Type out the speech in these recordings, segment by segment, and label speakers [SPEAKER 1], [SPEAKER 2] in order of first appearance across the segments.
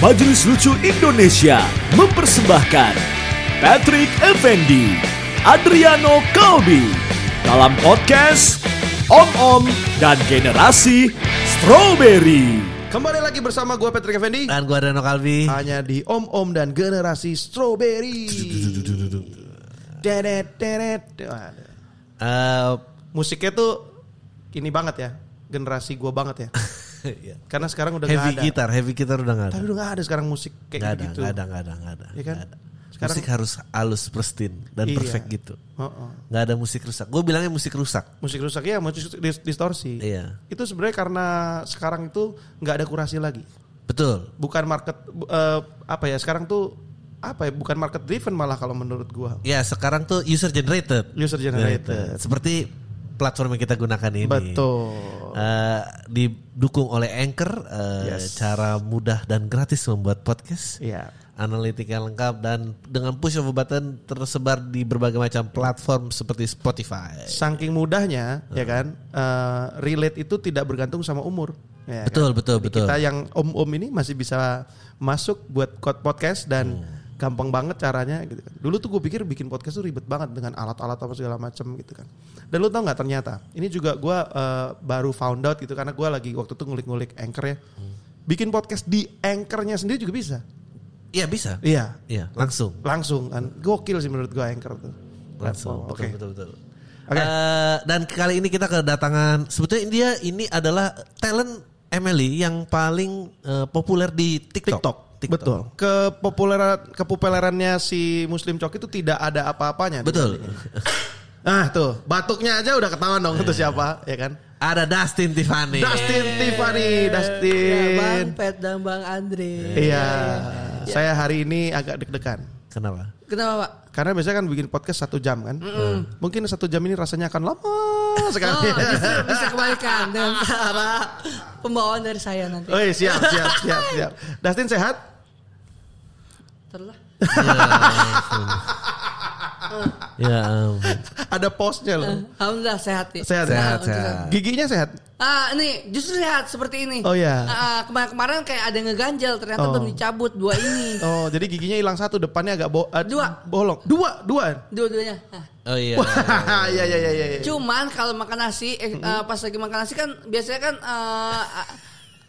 [SPEAKER 1] Majelis Lucu Indonesia mempersembahkan Patrick Effendi, Adriano Kalbi dalam podcast Om Om dan Generasi Strawberry.
[SPEAKER 2] Kembali lagi bersama gue Patrick Effendi
[SPEAKER 3] Dan gue Kan Reno Kalvi
[SPEAKER 2] Hanya di Om Om dan Generasi Strawberry Deret, deret. Waduh. Ah.
[SPEAKER 3] Eh,
[SPEAKER 2] Musiknya tuh ini banget ya Generasi gue banget ya
[SPEAKER 3] iya.
[SPEAKER 2] Karena sekarang udah gak
[SPEAKER 3] Heavy
[SPEAKER 2] ada
[SPEAKER 3] gitar, heavy gitar udah gak ada
[SPEAKER 2] Tapi udah gak ada sekarang musik kayak
[SPEAKER 3] Gak ada,
[SPEAKER 2] gitu
[SPEAKER 3] gak ada, gak ada, gak ada,
[SPEAKER 2] Iya kan?
[SPEAKER 3] nggak ada.
[SPEAKER 2] Sekarang-
[SPEAKER 3] Musik harus halus, pristine dan
[SPEAKER 2] Iya.
[SPEAKER 3] perfect gitu
[SPEAKER 2] Heeh.
[SPEAKER 3] Gak ada musik rusak, gue bilangnya musik rusak
[SPEAKER 2] Musik rusak ya musik dis- distorsi
[SPEAKER 3] Iya,
[SPEAKER 2] Itu sebenarnya karena sekarang itu gak ada kurasi lagi
[SPEAKER 3] betul
[SPEAKER 2] Bukan market bu- eh, Apa ya sekarang tuh Apa ya bukan market driven malah kalau menurut gue
[SPEAKER 3] Ya sekarang tuh user generated
[SPEAKER 2] User generated
[SPEAKER 3] Seperti platform yang kita gunakan ini
[SPEAKER 2] Betul
[SPEAKER 3] Eh, didukung oleh Anchor eh,
[SPEAKER 2] Yes.
[SPEAKER 3] Cara mudah dan gratis membuat podcast
[SPEAKER 2] Iya
[SPEAKER 3] analitika lengkap dan dengan push of a button tersebar di berbagai macam platform seperti Spotify.
[SPEAKER 2] saking mudahnya ya
[SPEAKER 3] Hmm.
[SPEAKER 2] kan eh, relate itu tidak bergantung sama umur ya kan?
[SPEAKER 3] Betul, betul, betul.
[SPEAKER 2] kita yang om-om ini masih bisa masuk buat kot- podcast dan
[SPEAKER 3] Hmm.
[SPEAKER 2] gampang banget caranya gitu kan dulu tuh gue pikir bikin podcast tuh ribet banget dengan alat-alat apa segala macam gitu kan dan lu tau nggak ternyata ini juga gue eh, baru found out gitu karena gue lagi waktu itu ngulik-ngulik anchor ya
[SPEAKER 3] Hmm.
[SPEAKER 2] bikin podcast di anchornya sendiri juga bisa
[SPEAKER 3] Iya bisa.
[SPEAKER 2] iya
[SPEAKER 3] Iya, langsung.
[SPEAKER 2] langsung kan gokil sih menurut gue anchor tuh Platform.
[SPEAKER 3] Langsung. Betul,
[SPEAKER 2] oke
[SPEAKER 3] betul, betul.
[SPEAKER 2] Oke.
[SPEAKER 3] Eh, dan kali ini kita kedatangan sebetulnya India ini adalah talent Emily yang paling eh, populer di TikTok.
[SPEAKER 2] TikTok. Betul. Kepopuleran kepopulerannya si Muslim Coki itu tidak ada apa-apanya.
[SPEAKER 3] Betul.
[SPEAKER 2] Ah tuh, batuknya aja udah ketahuan dong itu siapa, ya kan?
[SPEAKER 3] Ada Dustin Tiffany.
[SPEAKER 2] Dustin Tiffany, Dustin.
[SPEAKER 4] Ya, Bang Pet dan Bang Andre.
[SPEAKER 2] Iya. Saya hari ini agak deg-degan.
[SPEAKER 3] Kenapa?
[SPEAKER 4] Kenapa Pak?
[SPEAKER 2] Karena biasanya kan bikin podcast satu jam kan, mungkin satu jam ini rasanya akan lama sekali.
[SPEAKER 4] Oh, bisa, bisa kebalikan dengan cara pembawaan dari saya nanti.
[SPEAKER 2] Oi, siap, siap, siap, siap. Dustin sehat?
[SPEAKER 4] Terlah.
[SPEAKER 3] Ya ampun.
[SPEAKER 2] Ada posnya loh.
[SPEAKER 4] Alhamdulillah sehat ya.
[SPEAKER 2] Sehat,
[SPEAKER 3] Sehat,
[SPEAKER 2] sehat.
[SPEAKER 3] sehat.
[SPEAKER 2] Giginya sehat?
[SPEAKER 4] Ah, ini justru sehat seperti ini.
[SPEAKER 2] Oh, iya.
[SPEAKER 4] Ah, kemarin-kemarin kayak ada yang ngeganjel, ternyata
[SPEAKER 2] Oh.
[SPEAKER 4] belum dicabut dua ini.
[SPEAKER 2] Oh, jadi giginya hilang satu, depannya agak bo- eh,
[SPEAKER 4] Dua.
[SPEAKER 2] bolong. Dua, dua.
[SPEAKER 4] Dua-duanya. Nah,
[SPEAKER 3] Oh iya.
[SPEAKER 2] Wah, ya ya ya ya. ya.
[SPEAKER 4] Cuman kalau makan nasi, eh, eh, pas lagi makan nasi kan biasanya kan eh, ah,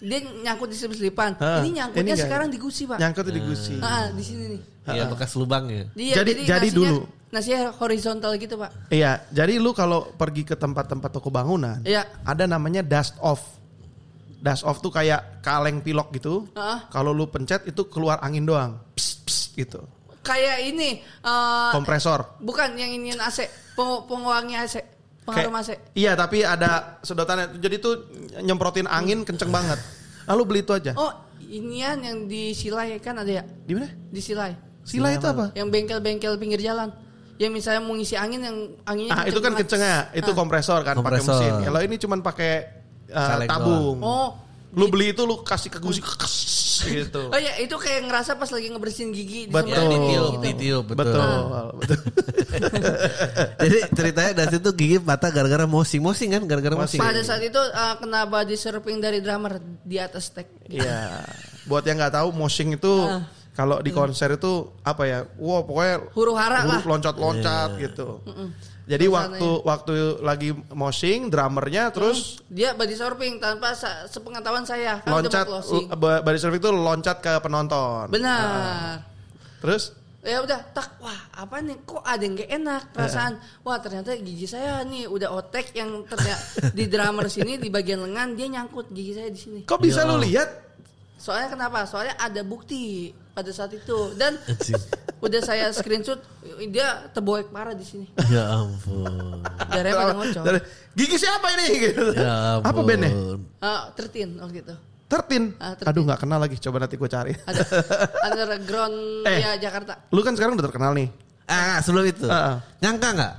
[SPEAKER 4] dia nyangkut di selip-selipan.
[SPEAKER 2] Hah,
[SPEAKER 4] ini nyangkutnya
[SPEAKER 2] Ah, ini nggak-
[SPEAKER 4] sekarang di gusi, Pak.
[SPEAKER 2] Nyangkut di gusi.
[SPEAKER 4] Ah, di sini nih.
[SPEAKER 3] Iya bekas lubangnya.
[SPEAKER 4] Dia,
[SPEAKER 2] Jadi- jadi
[SPEAKER 4] nasinya-
[SPEAKER 2] dulu.
[SPEAKER 4] Nasinya horizontal gitu, Pak.
[SPEAKER 2] Iya, jadi lu kalau pergi ke tempat-tempat toko bangunan,
[SPEAKER 4] Iya.
[SPEAKER 2] ada namanya dust off. Dust off tuh kayak kaleng pilok gitu.
[SPEAKER 4] Ah.
[SPEAKER 2] Kalau lu pencet itu keluar angin doang. Psst, psst, gitu.
[SPEAKER 4] kayak ini eh,
[SPEAKER 2] Kompresor.
[SPEAKER 4] bukan yang ingin AC peng- penguangnya AC pengharum AC
[SPEAKER 2] Kayak- Iya, tapi ada sedotannya. Jadi tuh nyemprotin angin kenceng banget. Lalu beli itu aja.
[SPEAKER 4] oh inian yang di Silai kan ada ya
[SPEAKER 2] Di mana?
[SPEAKER 4] di Silai
[SPEAKER 2] Sila itu apa?
[SPEAKER 4] yang bengkel-bengkel pinggir jalan yang misalnya mau ngisi angin yang anginnya
[SPEAKER 2] Ah, itu kan
[SPEAKER 4] banget.
[SPEAKER 2] kenceng ya. Itu kompresor kan pakai
[SPEAKER 3] Kompresor.
[SPEAKER 2] mesin. Kalau ini cuman pakai eh,
[SPEAKER 3] Kaleng
[SPEAKER 2] tabung.
[SPEAKER 4] oh
[SPEAKER 2] Lu beli itu lu kasih ke gusi kekes, gitu.
[SPEAKER 4] oh ya itu kayak ngerasa pas lagi ngebersihin gigi di
[SPEAKER 2] Betul.
[SPEAKER 3] Ya,
[SPEAKER 4] sebelah gigi
[SPEAKER 3] ditiup,
[SPEAKER 4] gitu.
[SPEAKER 3] ditiup, betul.
[SPEAKER 4] Ah.
[SPEAKER 2] betul.
[SPEAKER 3] Jadi ceritanya dari situ gigi patah gara-gara mosing-mosing kan, gara-gara mosing.
[SPEAKER 4] pada saat itu eh, kena body surfing dari drummer di atas stage
[SPEAKER 2] Iya. Buat yang nggak tahu moshing itu
[SPEAKER 4] Ah.
[SPEAKER 2] kalau di konser itu apa ya? Wow, pokoknya
[SPEAKER 4] Huru hara lah.
[SPEAKER 2] loncat-loncat
[SPEAKER 3] Iya.
[SPEAKER 2] gitu. Jadi waktu waktu lagi moshing drummernya terus
[SPEAKER 4] dia body surfing tanpa sa- sepengetahuan saya kan udah mau
[SPEAKER 2] loncat
[SPEAKER 4] closing.
[SPEAKER 2] l- ba- body surfing itu loncat ke penonton. Ah.
[SPEAKER 4] benar
[SPEAKER 2] Terus
[SPEAKER 4] ya udah tak wah apa nih kok ada yang gak enak perasaan wah ternyata gigi saya nih udah otek yang ternyata di drummer sini di bagian lengan dia nyangkut gigi saya di sini
[SPEAKER 2] kok bisa
[SPEAKER 3] Iya.
[SPEAKER 2] lu lihat?
[SPEAKER 4] soalnya kenapa soalnya ada bukti pada saat itu dan udah saya screenshot dia teboek parah di sini
[SPEAKER 3] Ya ampun.
[SPEAKER 4] darahnya pada ngocok
[SPEAKER 2] Dari- Gigi siapa ini? Gitu.
[SPEAKER 3] Ya ampun.
[SPEAKER 2] Apa bandnya?
[SPEAKER 4] Ah, tertin oh gitu
[SPEAKER 2] Tertin.
[SPEAKER 4] Ah, Tertin.
[SPEAKER 2] Aduh nggak kenal lagi. Coba nanti gue cari.
[SPEAKER 4] ada underground
[SPEAKER 2] Eh.
[SPEAKER 4] ya Jakarta
[SPEAKER 2] Lu kan sekarang udah terkenal nih.
[SPEAKER 3] Ah, sebelum itu.
[SPEAKER 2] Heeh.
[SPEAKER 3] Nyangka nggak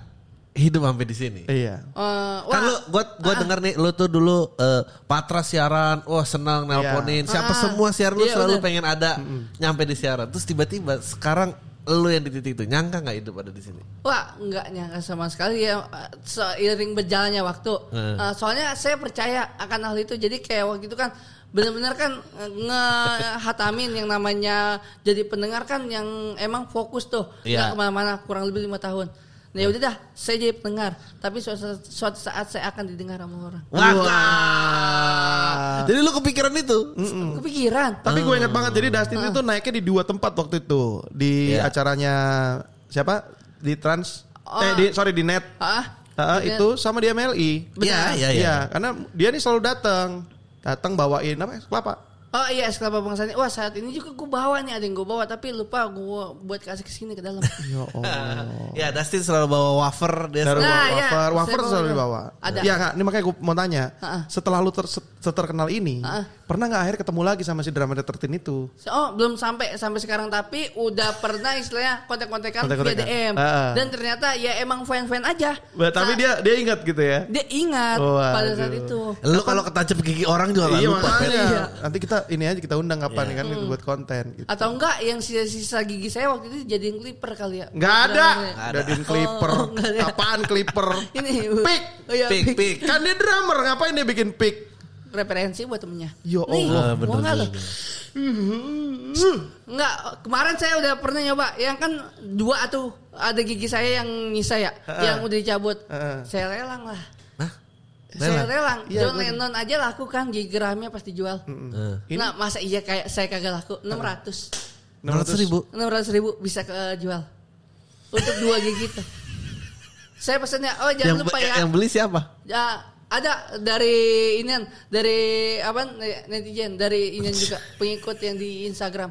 [SPEAKER 3] hidup sampai di sini?
[SPEAKER 2] Iya.
[SPEAKER 4] Eh, wah
[SPEAKER 3] Kan lu gua gua denger nih lu tuh dulu eh, Patra siaran, wah senang Ah, nelponin. Siapa semua siaran lu
[SPEAKER 4] Iya,
[SPEAKER 3] selalu
[SPEAKER 4] bener.
[SPEAKER 3] pengen ada nyampe di siaran. Terus tiba-tiba sekarang lu yang di titik itu nyangka nggak hidup ada di sini?
[SPEAKER 4] Wah, nggak nyangka sama sekali ya eh, seiring berjalannya waktu.
[SPEAKER 3] Heeh.
[SPEAKER 4] Eh, soalnya saya percaya akan hal itu. Jadi kayak waktu itu kan benar-benar kan eh, ngehatamin yang namanya jadi pendengar kan yang emang fokus tuh
[SPEAKER 3] Iya.
[SPEAKER 4] nggak kemana-mana kurang lebih lima tahun. Nah ya udah dah, saya jadi pendengar. Tapi suatu, suatu saat saya akan didengar sama orang.
[SPEAKER 3] Wah. Jadi lu kepikiran itu?
[SPEAKER 4] Kepikiran.
[SPEAKER 2] Tapi gue ingat banget jadi Dustin itu
[SPEAKER 4] Ah.
[SPEAKER 2] naiknya di dua tempat waktu itu di
[SPEAKER 3] Iya.
[SPEAKER 2] acaranya siapa di Trans eh
[SPEAKER 4] Oh.
[SPEAKER 2] di sorry di Net
[SPEAKER 4] Ah,
[SPEAKER 2] Heeh,
[SPEAKER 4] Di Net.
[SPEAKER 2] itu sama di MLI.
[SPEAKER 4] Benar.
[SPEAKER 3] Iya, iya,
[SPEAKER 2] Iya,
[SPEAKER 3] iya.
[SPEAKER 2] karena dia nih selalu datang, datang bawain apa? es Kelapa.
[SPEAKER 4] Oh iya es kelapa Bang Sandi. Wah saat ini juga gue bawa nih ada yang gue bawa tapi lupa gue buat kasih ke sini ke dalam.
[SPEAKER 2] Ya Allah.
[SPEAKER 3] Ya, Dustin selalu bawa wafer dia
[SPEAKER 2] Selalu
[SPEAKER 4] Nah,
[SPEAKER 2] bawa
[SPEAKER 4] iya.
[SPEAKER 2] wafer,
[SPEAKER 4] Saya
[SPEAKER 2] ya. wafer
[SPEAKER 4] bawa
[SPEAKER 2] selalu
[SPEAKER 4] itu.
[SPEAKER 2] dibawa.
[SPEAKER 4] Ada.
[SPEAKER 2] Iya kak, ini makanya gue mau tanya,
[SPEAKER 4] Heeh.
[SPEAKER 2] setelah lu ter, terkenal ini,
[SPEAKER 4] Heeh.
[SPEAKER 2] pernah nggak akhirnya ketemu lagi sama si drama tertin itu?
[SPEAKER 4] Oh belum sampai sampai sekarang tapi udah pernah istilahnya kontak-kontakan via
[SPEAKER 2] Kontak-kontakan.
[SPEAKER 4] DM
[SPEAKER 2] Ah.
[SPEAKER 4] dan ternyata ya emang fan-fan aja.
[SPEAKER 2] Tapi
[SPEAKER 4] Nah,
[SPEAKER 2] dia dia ingat gitu ya.
[SPEAKER 4] dia ingat
[SPEAKER 2] Waduh.
[SPEAKER 4] pada saat itu.
[SPEAKER 3] Lu kan- kalau ketancap gigi orang juga nggak
[SPEAKER 2] Iya
[SPEAKER 3] lupa. Pet.
[SPEAKER 2] makanya.
[SPEAKER 4] Iya.
[SPEAKER 2] Nanti kita ini aja kita undang kapan kan gitu, buat konten. Gitu.
[SPEAKER 4] Atau enggak yang sisa-sisa gigi saya waktu itu jadiin clipper kali ya?
[SPEAKER 2] Nggak ada.
[SPEAKER 4] Drummernya.
[SPEAKER 2] Ada di clipper.
[SPEAKER 4] Oh, nggak ada.
[SPEAKER 2] Apaan clipper?
[SPEAKER 4] Ini
[SPEAKER 2] Pick.
[SPEAKER 4] Oh, iya,
[SPEAKER 3] Pik,
[SPEAKER 4] pick.
[SPEAKER 3] pik.
[SPEAKER 2] Kan dia drummer, ngapain dia bikin pick?
[SPEAKER 4] Referensi buat temennya.
[SPEAKER 2] Ya
[SPEAKER 4] Nih,
[SPEAKER 2] Allah,
[SPEAKER 3] Ah, bener
[SPEAKER 4] mau nggak lo?
[SPEAKER 3] juga.
[SPEAKER 4] Enggak, kemarin saya udah pernah nyoba yang kan dua tuh ada gigi saya yang nyisa ya, yang udah dicabut.
[SPEAKER 2] Heeh.
[SPEAKER 4] Saya lelang lah.
[SPEAKER 3] Hah?
[SPEAKER 4] Saya
[SPEAKER 3] Lelang?
[SPEAKER 4] lelang.
[SPEAKER 2] Iya,
[SPEAKER 4] John
[SPEAKER 2] gue-
[SPEAKER 4] Lennon aja laku kan gigi geramnya pas dijual.
[SPEAKER 3] Eh.
[SPEAKER 2] Ini-
[SPEAKER 4] Nah, masa iya kayak saya kagak laku 600.
[SPEAKER 3] 600 ribu.
[SPEAKER 4] 600 ribu bisa kejual. Untuk dua gigi tuh. Saya pesennya, oh jangan
[SPEAKER 3] Yang,
[SPEAKER 4] lupa ya.
[SPEAKER 3] yang beli siapa?
[SPEAKER 4] Ya, ada dari inian dari apa netizen dari inian juga pengikut yang di Instagram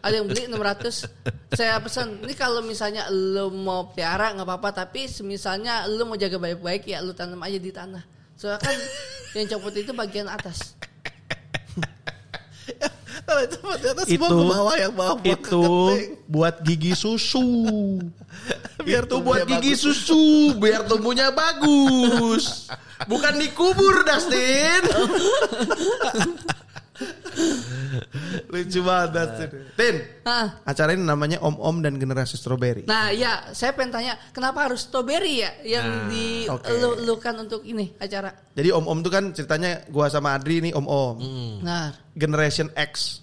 [SPEAKER 4] ada yang beli 600 saya pesan ini kalau misalnya lo mau piara nggak apa-apa tapi misalnya lo mau jaga baik-baik ya lo tanam aja di tanah soalnya kan yang copot itu bagian atas
[SPEAKER 3] Kalau itu mah di atas
[SPEAKER 2] itu
[SPEAKER 3] semua ke bawah
[SPEAKER 2] ya,
[SPEAKER 3] yang bawah buat
[SPEAKER 2] itu
[SPEAKER 3] keketing.
[SPEAKER 2] buat gigi susu biar
[SPEAKER 3] Itu
[SPEAKER 2] tuh buat
[SPEAKER 3] biar
[SPEAKER 2] gigi susu biar tumbuhnya bagus bukan dikubur Dustin lucu banget Dustin Tin
[SPEAKER 4] Hah.
[SPEAKER 2] acara ini namanya Om Om dan Generasi Strawberry
[SPEAKER 4] Nah ya saya pengen tanya kenapa harus strawberry ya yang dilulukan untuk ini acara
[SPEAKER 2] jadi Om Om tuh kan ceritanya gua sama Adri nih Om Om
[SPEAKER 4] Nah
[SPEAKER 2] Generation X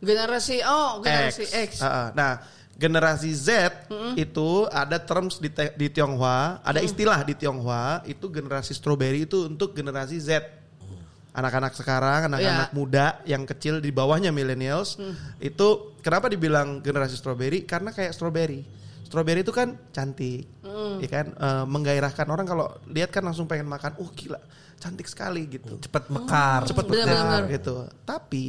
[SPEAKER 4] generasi oh generasi X, Hmm.
[SPEAKER 2] X. Ah, ah. Nah, generasi Z itu ada terms di, te- di Tionghoa, ada istilah di Tionghoa itu generasi strawberry itu untuk generasi Z. Anak-anak sekarang, anak-anak
[SPEAKER 4] Iya.
[SPEAKER 2] muda yang kecil di bawahnya millennials
[SPEAKER 4] Hmm.
[SPEAKER 2] itu kenapa dibilang generasi strawberry? Karena kayak strawberry. Strawberry itu kan cantik,
[SPEAKER 4] Hmm.
[SPEAKER 2] ya kan Eh, menggairahkan orang kalau lihat kan langsung pengen makan. Oh gila, cantik sekali gitu
[SPEAKER 3] Cepet mekar.
[SPEAKER 2] cepet
[SPEAKER 4] Benar,
[SPEAKER 2] pecah
[SPEAKER 4] benar.
[SPEAKER 2] gitu. Tapi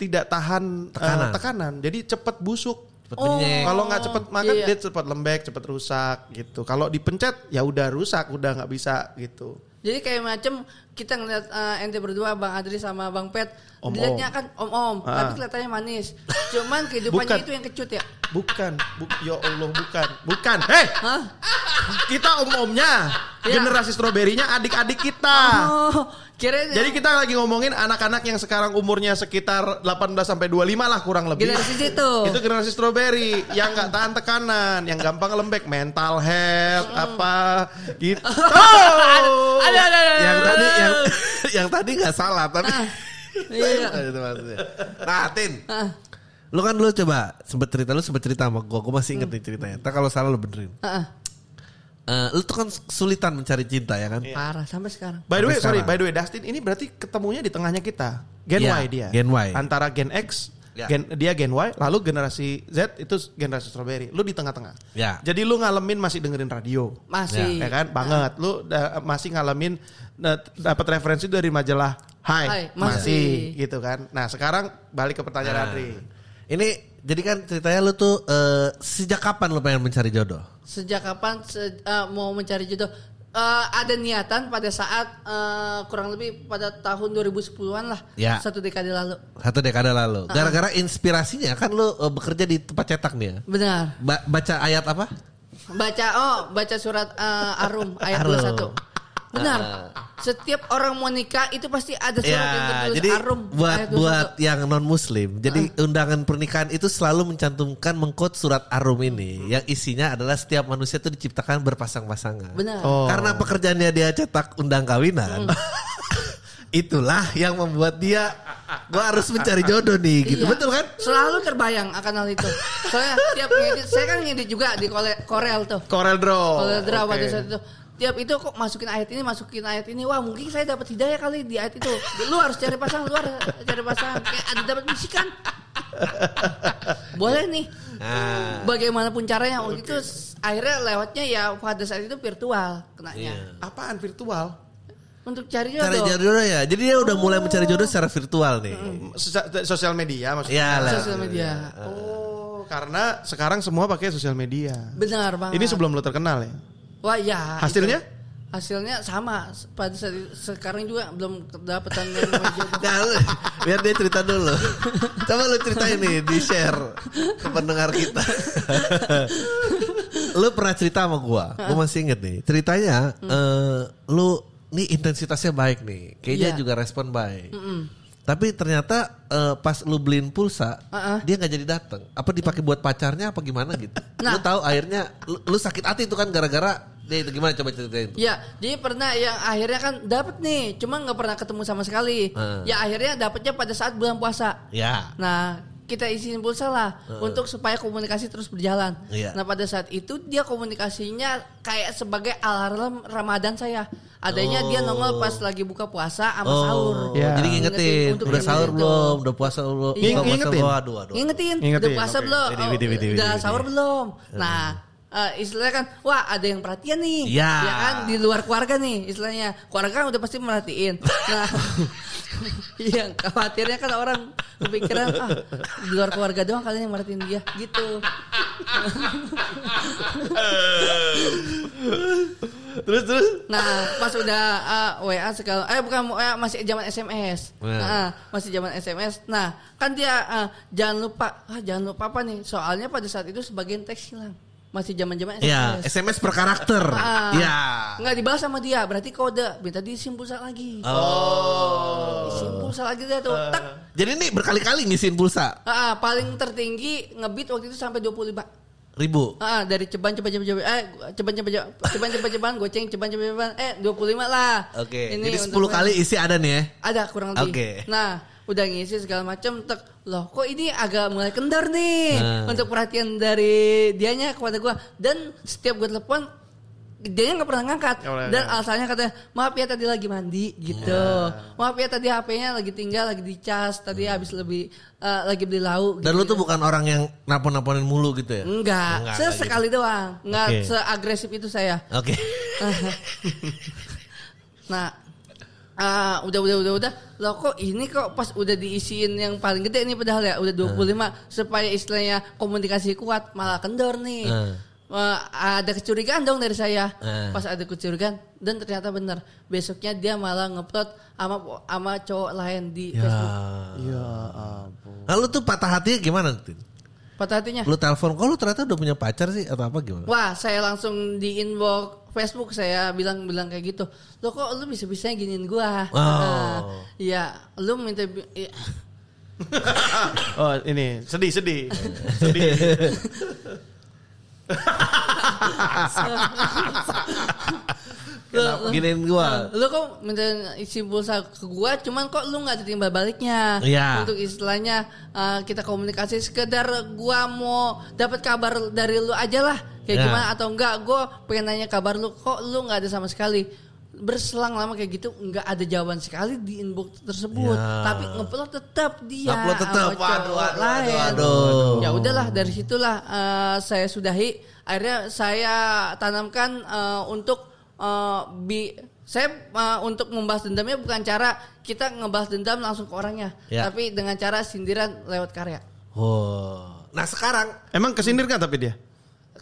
[SPEAKER 2] tidak tahan eh,
[SPEAKER 3] Tekanan.
[SPEAKER 2] tekanan. Jadi cepet busuk.
[SPEAKER 3] Cepet
[SPEAKER 4] Oh.
[SPEAKER 3] benyek.
[SPEAKER 2] Kalau nggak cepet makan
[SPEAKER 4] Iya.
[SPEAKER 2] dia cepet lembek, cepet rusak gitu. Kalau dipencet ya udah rusak, udah nggak bisa gitu.
[SPEAKER 4] Jadi kayak macam kita ngeliat eh, ente berdua Bang Adri sama Bang Pet
[SPEAKER 2] Om-om.
[SPEAKER 4] dilihatnya kan om-om
[SPEAKER 2] Ah.
[SPEAKER 4] tapi kelihatannya manis. Cuman kehidupannya
[SPEAKER 2] Bukan.
[SPEAKER 4] itu yang kecut ya.
[SPEAKER 2] Bukan, bu, ya Allah bukan, bukan. Hei,
[SPEAKER 4] Hah?
[SPEAKER 2] kita om-omnya,
[SPEAKER 4] Iya.
[SPEAKER 2] generasi stroberinya adik-adik kita.
[SPEAKER 4] Oh, kirain
[SPEAKER 2] Jadi kita lagi ngomongin anak-anak yang sekarang umurnya sekitar 18 sampai 25 lah kurang lebih.
[SPEAKER 4] generasi situ.
[SPEAKER 2] Itu generasi strawberry yang nggak tahan tekanan, yang gampang lembek, mental health
[SPEAKER 4] Hmm.
[SPEAKER 2] apa gitu. Oh!
[SPEAKER 4] Ada ada ada.
[SPEAKER 2] Ya.
[SPEAKER 3] yang
[SPEAKER 4] ada.
[SPEAKER 3] tadi yang yang tadi nggak salah tapi
[SPEAKER 4] Ah,
[SPEAKER 3] Iya,
[SPEAKER 4] iya.
[SPEAKER 3] itu maksudnya. Nah, Tin,
[SPEAKER 4] Ah,
[SPEAKER 3] lu kan dulu coba sempet cerita lu sempet cerita sama gua, gua masih inget nih ceritanya. Entar kalau salah lu benerin.
[SPEAKER 4] ah, ah.
[SPEAKER 3] Eh, lu tuh kan kesulitan mencari cinta
[SPEAKER 2] Iya.
[SPEAKER 3] ya kan?
[SPEAKER 4] Parah sampai sekarang.
[SPEAKER 2] By the way,
[SPEAKER 3] Sampai
[SPEAKER 2] sorry, by
[SPEAKER 3] sekarang.
[SPEAKER 2] the way, Dustin ini berarti ketemunya di tengahnya kita. Gen
[SPEAKER 3] Iya,
[SPEAKER 2] Y dia.
[SPEAKER 3] Gen Y.
[SPEAKER 2] Antara Gen X,
[SPEAKER 3] Iya.
[SPEAKER 4] Ya.
[SPEAKER 2] gen, dia Gen Y, lalu generasi Z itu generasi strawberry. Lu di tengah-tengah.
[SPEAKER 3] Iya.
[SPEAKER 2] Jadi lu ngalamin masih dengerin radio.
[SPEAKER 4] Masih.
[SPEAKER 2] Ya kan, banget. Lu da- masih ngalamin eh, dapat referensi dari majalah Hai,
[SPEAKER 4] Hai,
[SPEAKER 2] masih.
[SPEAKER 4] masih.
[SPEAKER 2] gitu kan. Nah, sekarang balik ke
[SPEAKER 3] Nah.
[SPEAKER 2] pertanyaan Adri.
[SPEAKER 3] Ini jadi kan ceritanya lu tuh eh, sejak kapan lu pengen mencari jodoh?
[SPEAKER 4] Sejak kapan se- eh, mau mencari jodoh? Eh, ada niatan pada saat eh, kurang lebih pada tahun 2010-an lah.
[SPEAKER 3] Ya.
[SPEAKER 4] Satu dekade lalu.
[SPEAKER 3] Satu dekade lalu. Gara-gara inspirasinya kan lu eh, bekerja di tempat cetak nih ya.
[SPEAKER 4] Benar.
[SPEAKER 3] Ba- baca ayat apa?
[SPEAKER 4] Baca oh, baca surat eh, Arum ayat
[SPEAKER 3] Arum.
[SPEAKER 4] 21. Benar. Setiap orang mau nikah itu pasti ada surat
[SPEAKER 3] Ah.
[SPEAKER 4] yang
[SPEAKER 3] Ya,
[SPEAKER 4] tertulis
[SPEAKER 3] jadi
[SPEAKER 4] arum. ayat
[SPEAKER 3] buat
[SPEAKER 4] 21.
[SPEAKER 3] buat yang non muslim, jadi undangan pernikahan itu selalu mencantumkan mengkot surat arum ini, yang isinya adalah setiap manusia itu diciptakan berpasang-pasangan.
[SPEAKER 4] Benar. Hmm.
[SPEAKER 2] Oh.
[SPEAKER 3] Karena pekerjaannya dia cetak undang kawinan. Itulah yang membuat dia gua harus mencari jodoh nih gitu.
[SPEAKER 4] Iya.
[SPEAKER 3] Betul kan?
[SPEAKER 4] Selalu terbayang akan hal itu. Soalnya tiap ngedit, saya kan ngedit juga di kole- Korel tuh.
[SPEAKER 2] Corel Draw.
[SPEAKER 3] Oh,
[SPEAKER 4] Korel Draw pada
[SPEAKER 2] Oke.
[SPEAKER 4] saat itu. Tiap itu kok masukin ayat ini, masukin ayat ini. Wah mungkin saya dapat hidayah kali di ayat itu. Lu harus cari pasangan, lu harus cari pasangan. Kayak ada dapat bisikan. Boleh nih.
[SPEAKER 3] Nah.
[SPEAKER 4] Bagaimanapun caranya. Waktu itu s- akhirnya lewatnya ya pada saat itu virtual kenanya.
[SPEAKER 2] Apaan virtual?
[SPEAKER 4] Untuk cari
[SPEAKER 3] Iya. Cari
[SPEAKER 4] jodoh.
[SPEAKER 3] jodoh ya. Jadi dia udah mulai mencari jodoh secara virtual nih.
[SPEAKER 2] Sosa- Sosial media maksudnya.
[SPEAKER 3] Ya lah.
[SPEAKER 4] Sosial media.
[SPEAKER 2] Oh, karena sekarang semua pakai sosial media.
[SPEAKER 4] Iya. Benar banget.
[SPEAKER 2] Ini sebelum lo terkenal ya.
[SPEAKER 4] Wah ya.
[SPEAKER 2] Hasilnya?
[SPEAKER 4] itu. Hasilnya sama. Pada saat itu- sekarang juga belum kedapatan yang namanya jodoh.
[SPEAKER 3] Nah, lu- biar dia cerita dulu. Coba lu ceritain nih, di share ke pendengar kita. lu pernah cerita sama gua, gua masih inget nih. Ceritanya
[SPEAKER 4] Hmm.
[SPEAKER 3] eh, lu nih intensitasnya baik nih, kayaknya
[SPEAKER 4] Iya.
[SPEAKER 3] juga respon baik. Tapi ternyata eh, pas lu beliin pulsa,
[SPEAKER 4] Uh-uh.
[SPEAKER 3] dia nggak jadi datang. Apa dipakai buat pacarnya apa gimana gitu? Lu
[SPEAKER 4] Nah.
[SPEAKER 3] tahu akhirnya lu, lu sakit hati itu kan gara-gara dia itu gimana coba ceritain. tuh.
[SPEAKER 4] Ya, jadi pernah yang akhirnya kan dapat nih, cuma nggak pernah ketemu sama sekali.
[SPEAKER 3] Hmm.
[SPEAKER 4] Ya akhirnya dapatnya pada saat bulan puasa.
[SPEAKER 3] Ya.
[SPEAKER 4] Nah, kita isiin pulsa lah untuk supaya komunikasi terus berjalan.
[SPEAKER 3] Ah. Iya.
[SPEAKER 4] Nah, pada saat itu dia komunikasinya kayak sebagai alarm Ramadan saya. Adanya dia nongol pas lagi buka puasa sama sahur.
[SPEAKER 2] Ya.
[SPEAKER 3] Oh. Jadi ngingetin,
[SPEAKER 4] Untuk
[SPEAKER 3] udah sahur
[SPEAKER 4] ngingetin.
[SPEAKER 3] belum, udah puasa belum,
[SPEAKER 4] Iya.
[SPEAKER 3] Udah puasa
[SPEAKER 2] Ngingetin.
[SPEAKER 3] belum? Aduh, aduh.
[SPEAKER 4] Ngingetin,
[SPEAKER 2] Ngingetin,
[SPEAKER 4] udah puasa
[SPEAKER 2] oke.
[SPEAKER 4] belum?
[SPEAKER 3] Widi,
[SPEAKER 4] Oh,
[SPEAKER 3] widi, widi,
[SPEAKER 4] udah
[SPEAKER 3] widi.
[SPEAKER 4] sahur belum? Nah, eh, istilahnya kan, wah ada yang perhatian nih,
[SPEAKER 3] Ya.
[SPEAKER 4] ya kan di luar keluarga nih, istilahnya keluarga kan udah pasti merhatiin. Nah, yang khawatirnya kan orang kepikiran, ah di luar keluarga doang kalian yang merhatiin dia, gitu.
[SPEAKER 3] Terus terus.
[SPEAKER 4] Nah, pas udah ah, WA segala, eh bukan WA masih zaman SMS.
[SPEAKER 3] Nah.
[SPEAKER 4] Nah, ah, masih zaman SMS. Nah, kan dia ah, jangan lupa, ah, jangan lupa apa nih? Soalnya pada saat itu sebagian teks hilang. Masih zaman-zaman SMS.
[SPEAKER 3] Ya, SMS per karakter.
[SPEAKER 4] Ah,
[SPEAKER 3] Ya.
[SPEAKER 4] Nggak dibahas sama dia, berarti kode. Minta diisim pulsa lagi.
[SPEAKER 3] Oh. Ah.
[SPEAKER 4] Isim pulsa lagi dia tuh. Tak.
[SPEAKER 3] Jadi ini berkali-kali ngisiin pulsa.
[SPEAKER 4] Ah, ah, paling tertinggi ngebit waktu itu sampai 25.
[SPEAKER 3] Ribu.
[SPEAKER 4] Ah, dari ceban ceban ceban ceban eh ceban ceban ceban ceban ceban ceban goceng ceban ceban ceban eh 25 lah.
[SPEAKER 3] Oke.
[SPEAKER 4] Ini
[SPEAKER 3] Jadi
[SPEAKER 4] untuk
[SPEAKER 3] 10 kali isi ada nih ya.
[SPEAKER 4] Ada kurang lebih.
[SPEAKER 3] Oke.
[SPEAKER 4] Nah, udah ngisi segala macam tek loh kok ini agak mulai kendor nih
[SPEAKER 3] Nah.
[SPEAKER 4] untuk perhatian dari dianya kepada gua dan setiap gua telepon dia nggak pernah ngangkat
[SPEAKER 2] Nggak pernah
[SPEAKER 4] dan
[SPEAKER 2] ngangkat.
[SPEAKER 4] alasannya katanya maaf ya tadi lagi mandi gitu
[SPEAKER 3] Iya.
[SPEAKER 4] maaf ya tadi HP-nya lagi tinggal lagi dicas tadi habis lebih eh, lagi beli lauk
[SPEAKER 3] Hmm. Dan lu tuh bukan orang yang napon-naponin mulu gitu ya.
[SPEAKER 4] Mm. enggak,
[SPEAKER 3] Enggak, enggak
[SPEAKER 4] sesekali doang enggak
[SPEAKER 3] Oke.
[SPEAKER 4] seagresif itu saya
[SPEAKER 3] Oke.
[SPEAKER 4] nah ah, udah udah udah udah loh kok ini kok pas udah diisiin yang paling gede nih padahal ya udah 25 supaya istilahnya komunikasi kuat malah kendor nih
[SPEAKER 3] Hmm.
[SPEAKER 4] Eh, ada kecurigaan dong dari saya
[SPEAKER 3] Hmm.
[SPEAKER 4] pas ada kecurigaan dan ternyata bener besoknya dia malah ngeplot sama sama cowok lain di
[SPEAKER 3] Ya.
[SPEAKER 4] Facebook
[SPEAKER 2] Ya ampun.
[SPEAKER 3] Nah, lu tuh patah hatinya gimana, Tin?
[SPEAKER 4] Eh. patah hatinya
[SPEAKER 3] Lu telepon kok lu ternyata udah punya pacar sih atau apa gimana?
[SPEAKER 4] Wah, saya langsung di inbox Facebook saya bilang-bilang kayak gitu. Lo kok lu bisa-bisanya giniin gua?
[SPEAKER 3] Wow.
[SPEAKER 4] Nah, Iya, lu minta bi- iya.
[SPEAKER 2] Oh ini sedih sedih sedih.
[SPEAKER 4] Iya.
[SPEAKER 3] Ya,
[SPEAKER 4] Lu- lu-
[SPEAKER 3] Giniin gua.
[SPEAKER 4] Iya. lu kok minta isi pulsa ke gua cuman kok lu nggak terima baliknya
[SPEAKER 3] Iya.
[SPEAKER 4] untuk istilahnya uh, kita komunikasi sekedar gua mau dapat kabar dari lu aja lah kayak
[SPEAKER 3] Iya.
[SPEAKER 4] gimana atau enggak gua pengen nanya kabar lu kok lu nggak ada sama sekali berselang lama kayak gitu nggak ada jawaban sekali di inbox tersebut
[SPEAKER 3] Iya.
[SPEAKER 4] tapi ngeplot tetap dia
[SPEAKER 3] Upload tetap.
[SPEAKER 4] iya, sama cowok
[SPEAKER 3] Waduh, waduh,
[SPEAKER 4] lain.
[SPEAKER 3] waduh, waduh.
[SPEAKER 4] ya udahlah dari situlah eh, saya sudahi akhirnya saya tanamkan eh, untuk eh, bi saya eh, untuk membahas dendamnya bukan cara kita ngebahas dendam langsung ke orangnya
[SPEAKER 3] Ya.
[SPEAKER 4] tapi dengan cara sindiran lewat karya
[SPEAKER 3] Oh. Nah, sekarang
[SPEAKER 2] Emang kesindir kan tapi dia?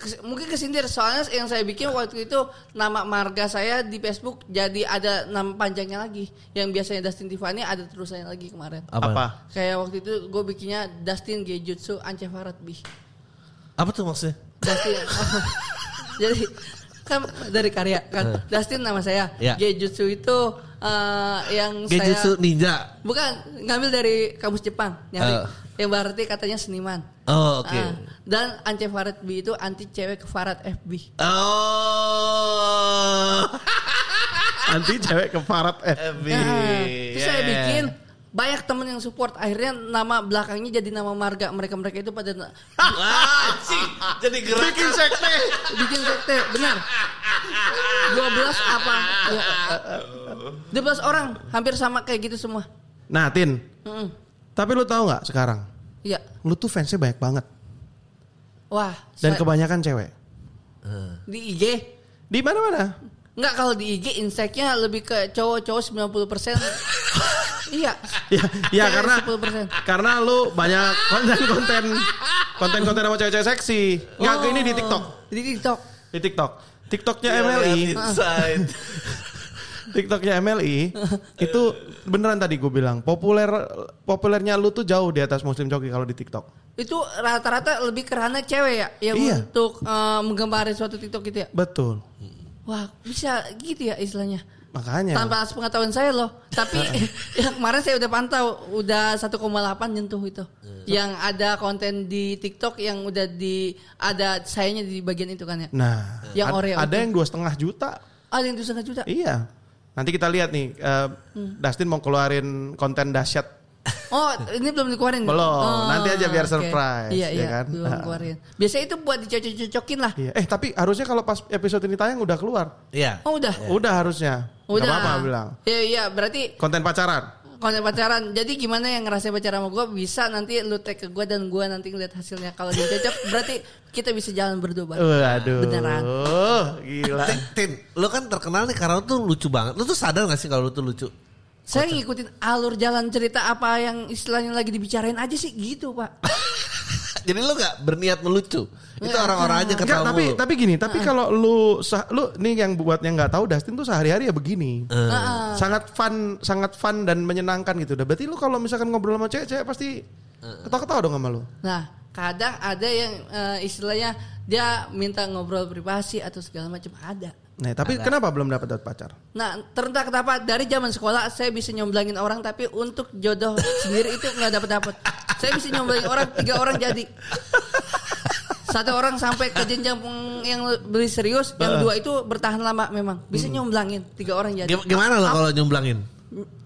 [SPEAKER 4] Kes- mungkin kesindir soalnya yang saya bikin waktu itu nama marga saya di Facebook jadi ada nama panjangnya lagi yang biasanya Dustin Tiffany ada terusannya lagi kemarin
[SPEAKER 2] Apa?
[SPEAKER 4] kayak waktu itu gue bikinnya Dustin Gejutsu Ancefarat Bih
[SPEAKER 3] Apa tuh maksudnya?
[SPEAKER 4] Dustin jadi kan dari karya kan. Dustin nama saya.
[SPEAKER 3] Eh. Ya.
[SPEAKER 4] Gejutsu itu eh, yang
[SPEAKER 3] Genjutsu
[SPEAKER 4] saya
[SPEAKER 3] ninja.
[SPEAKER 4] bukan ngambil dari kamus Jepang
[SPEAKER 3] Eh.
[SPEAKER 4] nyari. Yang berarti katanya seniman.
[SPEAKER 3] Oh, oke.
[SPEAKER 4] Ah, dan anti Farad B itu anti cewek ke Farad FB.
[SPEAKER 3] Oh.
[SPEAKER 2] Nanti cewek ke Farad eh.
[SPEAKER 3] Abi.
[SPEAKER 4] Nah, terus saya
[SPEAKER 3] Yeah.
[SPEAKER 4] bikin banyak temen yang support akhirnya nama belakangnya jadi nama marga mereka-mereka itu pada na-
[SPEAKER 3] Wah, cing. Ah, Jadi gerak.
[SPEAKER 2] Bikin sekte.
[SPEAKER 4] bikin sekte benar 12 apa ya. 12 orang hampir sama kayak gitu semua
[SPEAKER 2] Nah, Tin,
[SPEAKER 4] Mm-mm.
[SPEAKER 2] tapi lu tahu nggak sekarang?
[SPEAKER 4] iya
[SPEAKER 2] Lu tuh fansnya banyak banget
[SPEAKER 4] wah
[SPEAKER 2] dan
[SPEAKER 4] saya-
[SPEAKER 2] kebanyakan cewek.
[SPEAKER 4] di IG
[SPEAKER 2] Di mana-mana.
[SPEAKER 4] Enggak kalau di IG inseknya lebih ke cowok-cowok 90% iya
[SPEAKER 2] Ya, ya
[SPEAKER 4] Cewek
[SPEAKER 2] karena
[SPEAKER 4] 10%.
[SPEAKER 2] karena lu banyak konten-konten konten-konten sama cewek-cewek seksi. Enggak,
[SPEAKER 4] Oh.
[SPEAKER 2] ini di TikTok.
[SPEAKER 4] di TikTok
[SPEAKER 2] Di TikTok. TikToknya MLI,
[SPEAKER 3] Inside.
[SPEAKER 2] TikToknya MLI itu beneran tadi gue bilang populer populernya lu tuh jauh di atas Muslim Joki kalau di TikTok.
[SPEAKER 4] itu rata-rata lebih kerana cewek ya yang
[SPEAKER 2] Iya.
[SPEAKER 4] untuk eh, menggemari suatu TikTok gitu ya
[SPEAKER 2] Betul.
[SPEAKER 4] wah bisa gitu ya istilahnya
[SPEAKER 2] Makanya.
[SPEAKER 4] tanpa atas pengetahuan saya loh tapi yang kemarin saya udah pantau udah 1,8 nyentuh itu
[SPEAKER 2] Iya.
[SPEAKER 4] yang ada konten di TikTok yang udah di ada sayanya di bagian itu kan ya
[SPEAKER 2] Nah,
[SPEAKER 4] Yang
[SPEAKER 2] ad-
[SPEAKER 4] Oreo
[SPEAKER 2] ada
[SPEAKER 4] itu.
[SPEAKER 2] yang dua setengah juta.
[SPEAKER 4] ada yang 2,5 juta
[SPEAKER 2] Iya. Nanti kita lihat nih, eh,
[SPEAKER 4] Hmm.
[SPEAKER 2] Dustin mau keluarin konten dahsyat.
[SPEAKER 4] oh ini belum dikeluarin
[SPEAKER 2] Belum.
[SPEAKER 4] Oh,
[SPEAKER 2] Nanti aja biar
[SPEAKER 4] oke.
[SPEAKER 2] surprise,
[SPEAKER 4] iya
[SPEAKER 2] ya
[SPEAKER 4] iya
[SPEAKER 2] kan?
[SPEAKER 4] belum
[SPEAKER 2] Ah.
[SPEAKER 4] keluarin biasanya itu buat dicocok-cocokin lah
[SPEAKER 2] Iya. Eh tapi harusnya kalau pas episode ini tayang udah keluar.
[SPEAKER 3] Iya.
[SPEAKER 4] oh udah
[SPEAKER 2] Udah harusnya. Nggak
[SPEAKER 4] udah
[SPEAKER 2] apa-apa bilang.
[SPEAKER 4] iya iya berarti
[SPEAKER 2] Konten pacaran.
[SPEAKER 4] konten pacaran. Jadi gimana yang ngerasain pacaran sama gue bisa nanti lu tag ke gue dan gue nanti ngeliat hasilnya. Kalau dia cocok berarti kita bisa jalan berdua bareng.
[SPEAKER 2] Waduh.
[SPEAKER 4] Beneran.
[SPEAKER 2] Gila.
[SPEAKER 3] Tin, Tin, lo kan terkenal nih karena lo tuh lucu banget. Lo tuh sadar gak sih kalau lo tuh lucu?
[SPEAKER 4] Saya ngikutin alur jalan cerita apa yang istilahnya lagi dibicarain aja sih gitu pak.
[SPEAKER 3] Jadi lo gak berniat melucu. Itu orang-orang aja
[SPEAKER 2] Enggak,
[SPEAKER 3] ketawa
[SPEAKER 2] tapi
[SPEAKER 3] mulu.
[SPEAKER 2] tapi gini, tapi kalau lu sah- lu nih yang buat yang nggak tahu Dustin tuh sehari-hari ya begini. Sangat fun, sangat fun dan menyenangkan gitu. Udah berarti lu kalau misalkan ngobrol sama cewek-cewek pasti ketawa-ketawa dong sama lu.
[SPEAKER 4] Nah kadang ada yang eh, istilahnya dia minta ngobrol privasi atau segala macam ada.
[SPEAKER 2] Nah, tapi kenapa belum dapat dapat pacar?
[SPEAKER 4] Nah terentah kenapa dari zaman sekolah saya bisa nyomblangin orang tapi untuk jodoh sendiri itu nggak dapet dapet. Saya bisa nyomblangin orang tiga orang jadi. Satu orang sampai ke jenjang peng- yang beli serius, yang dua itu bertahan lama memang. Bisa nyomblangin tiga orang jadi.
[SPEAKER 3] Gim- Gimana lo kalau nyumblangin?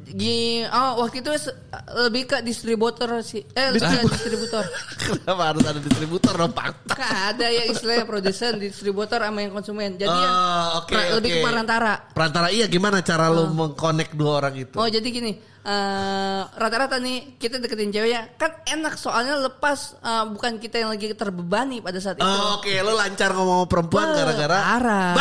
[SPEAKER 4] Gi- oh waktu itu se- lebih ke distributor sih. Eh lebih ke distributor.
[SPEAKER 3] Kenapa harus ada distributor dong Pak?
[SPEAKER 4] Kan ada yang istilahnya produsen, distributor sama yang konsumen. Jadi yang
[SPEAKER 3] Oh, oke,
[SPEAKER 4] pra-
[SPEAKER 3] oke.
[SPEAKER 4] lebih ke perantara.
[SPEAKER 3] Perantara iya gimana cara lo mengkonek dua orang itu?
[SPEAKER 4] Ah. Oh jadi gini, eh, rata-rata nih kita deketin cewek ya kan enak soalnya lepas eh, bukan kita yang lagi terbebani pada saat itu. Ah,
[SPEAKER 3] Oh, Oke, lo lancar ngomong sama perempuan
[SPEAKER 4] Wah,
[SPEAKER 3] gara-gara
[SPEAKER 4] parah.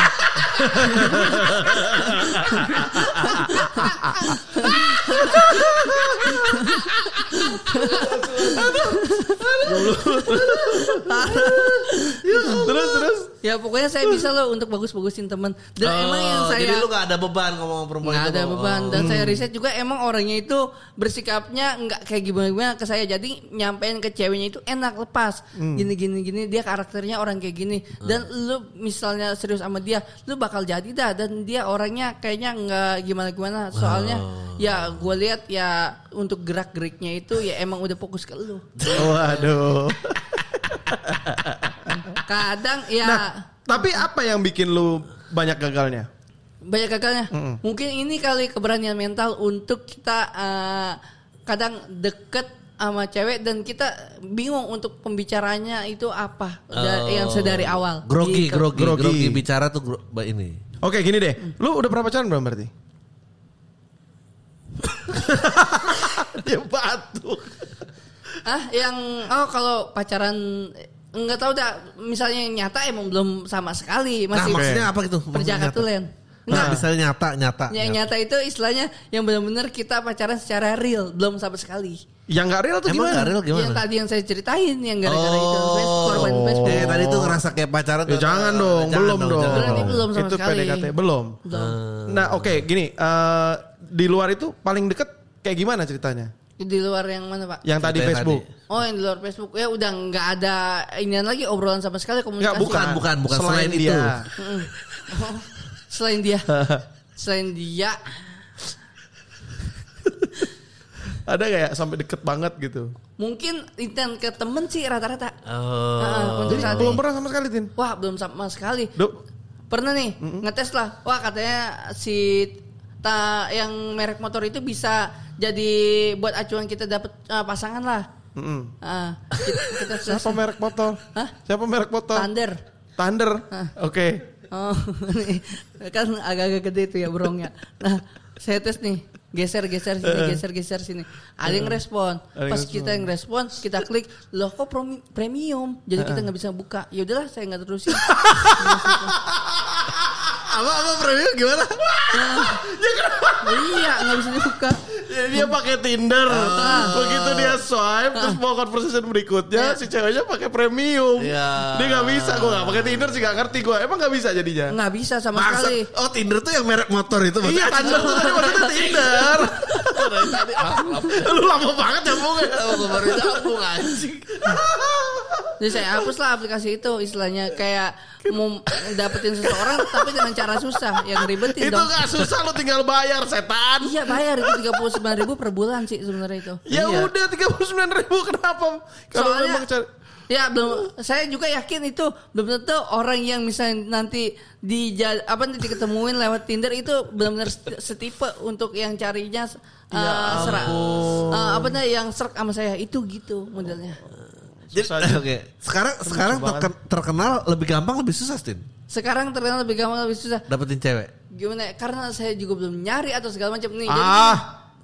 [SPEAKER 2] terus terus
[SPEAKER 4] ya pokoknya saya bisa loh untuk bagus-bagusin temen. Dan
[SPEAKER 3] Oh,
[SPEAKER 4] emang yang saya
[SPEAKER 3] Jadi lu gak ada beban ngomong sama perempuan
[SPEAKER 4] nggak
[SPEAKER 3] itu,
[SPEAKER 4] ada
[SPEAKER 3] Bang.
[SPEAKER 4] beban dan saya riset juga emang orangnya itu bersikapnya nggak kayak gimana gimana ke saya jadi nyampein ke ceweknya itu enak lepas gini gini gini dia karakternya orang kayak gini dan lu misalnya serius sama dia lu bakal jadi dah dan dia orangnya kayaknya nggak gimana gimana soalnya ya gue lihat ya untuk gerak geriknya itu ya emang udah fokus ke lu
[SPEAKER 3] Oh,
[SPEAKER 2] waduh.
[SPEAKER 4] kadang ya
[SPEAKER 2] Nah, tapi apa yang bikin lu banyak gagalnya?
[SPEAKER 4] banyak gagalnya. Mungkin ini kali keberanian mental untuk kita eh, kadang deket sama cewek dan kita bingung untuk pembicaranya itu apa dari Eh, yang sedari awal.
[SPEAKER 3] Oh. Grogi,
[SPEAKER 4] Gitu.
[SPEAKER 3] grogi, grogi,
[SPEAKER 2] Oh. Grogi.
[SPEAKER 3] bicara tuh gro- ba- ini.
[SPEAKER 2] Oke, gini deh. Lu udah pernah pacaran belum berarti? Dia Ya, batuk.
[SPEAKER 4] Ah, yang oh kalau pacaran eh, nggak tahu dah misalnya yang nyata emang belum sama sekali
[SPEAKER 3] Nah,
[SPEAKER 4] masih
[SPEAKER 3] maksudnya apa gitu? Maksudnya nyata.
[SPEAKER 4] perjakatulen.
[SPEAKER 3] Nah, Ya.
[SPEAKER 4] Enggak,
[SPEAKER 3] misalnya nyata, nyata.
[SPEAKER 4] yang nyata itu istilahnya yang benar-benar kita pacaran secara real, belum sama sekali.
[SPEAKER 2] Yang gak real tuh
[SPEAKER 3] Emang
[SPEAKER 2] gimana?
[SPEAKER 3] gak Oh, real gimana?
[SPEAKER 4] Yang tadi yang saya ceritain yang gara-gara itu korban Facebook.
[SPEAKER 3] Jadi Oh. Iya, tadi tuh ngerasa kayak pacaran.
[SPEAKER 2] Ya
[SPEAKER 3] tuh-
[SPEAKER 2] jangan dong,
[SPEAKER 3] Jangan
[SPEAKER 2] belum dong.
[SPEAKER 3] jangan
[SPEAKER 4] Berarti belum sama
[SPEAKER 2] itu
[SPEAKER 4] sekali.
[SPEAKER 2] PDKT belum. Nah, oke, gini, eh, di luar itu paling deket kayak gimana ceritanya?
[SPEAKER 4] Di luar yang mana pak?
[SPEAKER 2] Yang tadi
[SPEAKER 3] Ceritanya
[SPEAKER 2] Facebook.
[SPEAKER 3] tadi.
[SPEAKER 4] Oh yang di luar Facebook ya udah nggak ada inian lagi obrolan sama sekali
[SPEAKER 2] Enggak,
[SPEAKER 4] komunikasi. Oh,
[SPEAKER 2] bukan,
[SPEAKER 3] bukan, bukan. Selain itu.
[SPEAKER 2] dia.
[SPEAKER 4] Selain dia. Selain dia.
[SPEAKER 2] Ada kayak sampai deket banget gitu.
[SPEAKER 4] Mungkin intent ke temen sih rata-rata.
[SPEAKER 2] Eh.
[SPEAKER 4] Heeh,
[SPEAKER 3] Oh.
[SPEAKER 4] untuk saat
[SPEAKER 2] Belum
[SPEAKER 4] ini.
[SPEAKER 2] pernah sama sekali Tin.
[SPEAKER 4] Wah belum sama sekali.
[SPEAKER 2] Duh,
[SPEAKER 4] Pernah nih ngetes lah. Wah katanya si ta yang merek motor itu bisa jadi buat acuan kita dapat eh, pasangan lah.
[SPEAKER 2] mm-mm.
[SPEAKER 4] Ah, kita, kita
[SPEAKER 2] Siapa
[SPEAKER 4] tes.
[SPEAKER 2] merek motor?
[SPEAKER 4] Hah?
[SPEAKER 2] Siapa merek motor?
[SPEAKER 4] Thunder.
[SPEAKER 2] Thunder. Oke.
[SPEAKER 4] Oh, nih. kan agak-agak gede itu ya burungnya. Nah, saya tes nih, geser-geser sini, geser-geser sini. Ada yang respon.
[SPEAKER 2] Eh. Ada yang
[SPEAKER 4] Pas
[SPEAKER 2] respon. Eh.
[SPEAKER 4] kita yang respon, kita klik, loh kok promi- premium? Jadi kita nggak bisa buka. Ya udahlah, saya nggak terusin.
[SPEAKER 2] Apa apa premium gimana?
[SPEAKER 4] iya, nggak bisa dibuka.
[SPEAKER 2] Jadi dia pakai Tinder.
[SPEAKER 4] Ah.
[SPEAKER 2] Begitu dia swipe terus mau conversation
[SPEAKER 4] Iya.
[SPEAKER 2] berikutnya si ceweknya pakai premium.
[SPEAKER 3] Iya.
[SPEAKER 2] Dia nggak bisa gua nggak pakai Tinder sih nggak ngerti gua. Emang nggak bisa jadinya.
[SPEAKER 4] Nggak bisa sama
[SPEAKER 3] Maksud,
[SPEAKER 4] sekali.
[SPEAKER 3] oh Tinder tuh yang merek motor itu
[SPEAKER 2] Iya Thunder tuh tadi maksudnya Tinder. Lu lama banget nyambungnya.
[SPEAKER 3] gue baru nyambung anjing.
[SPEAKER 4] Jadi saya hapus lah aplikasi itu istilahnya kayak mau dapetin seseorang tapi dengan cara susah yang ribetin
[SPEAKER 2] Itu kan?
[SPEAKER 4] dong.
[SPEAKER 2] nggak susah lu tinggal bayar setan.
[SPEAKER 4] Iya bayar itu 39.000 per bulan sih sebenarnya itu.
[SPEAKER 2] Ya
[SPEAKER 4] Iya.
[SPEAKER 2] udah 39 ribu kenapa? Kalau
[SPEAKER 4] Soalnya-
[SPEAKER 2] memang cari
[SPEAKER 4] Ya belum. Saya juga yakin itu belum tentu orang yang misalnya nanti di apa nanti diketemuin lewat Tinder itu benar-benar set- setipe untuk yang carinya
[SPEAKER 2] Ya
[SPEAKER 4] eh, serak. Eh, apa namanya yang serak sama saya itu gitu modelnya.
[SPEAKER 3] Jadi,
[SPEAKER 2] Susah
[SPEAKER 3] oke.
[SPEAKER 2] aja.
[SPEAKER 3] Sekarang sekarang terken- terkenal lebih gampang lebih susah Tin.
[SPEAKER 4] Sekarang terkenal lebih gampang lebih susah.
[SPEAKER 3] Dapetin cewek.
[SPEAKER 4] Gimana? ya? Karena saya juga belum nyari atau segala macam nih. Jadi,
[SPEAKER 2] Ah,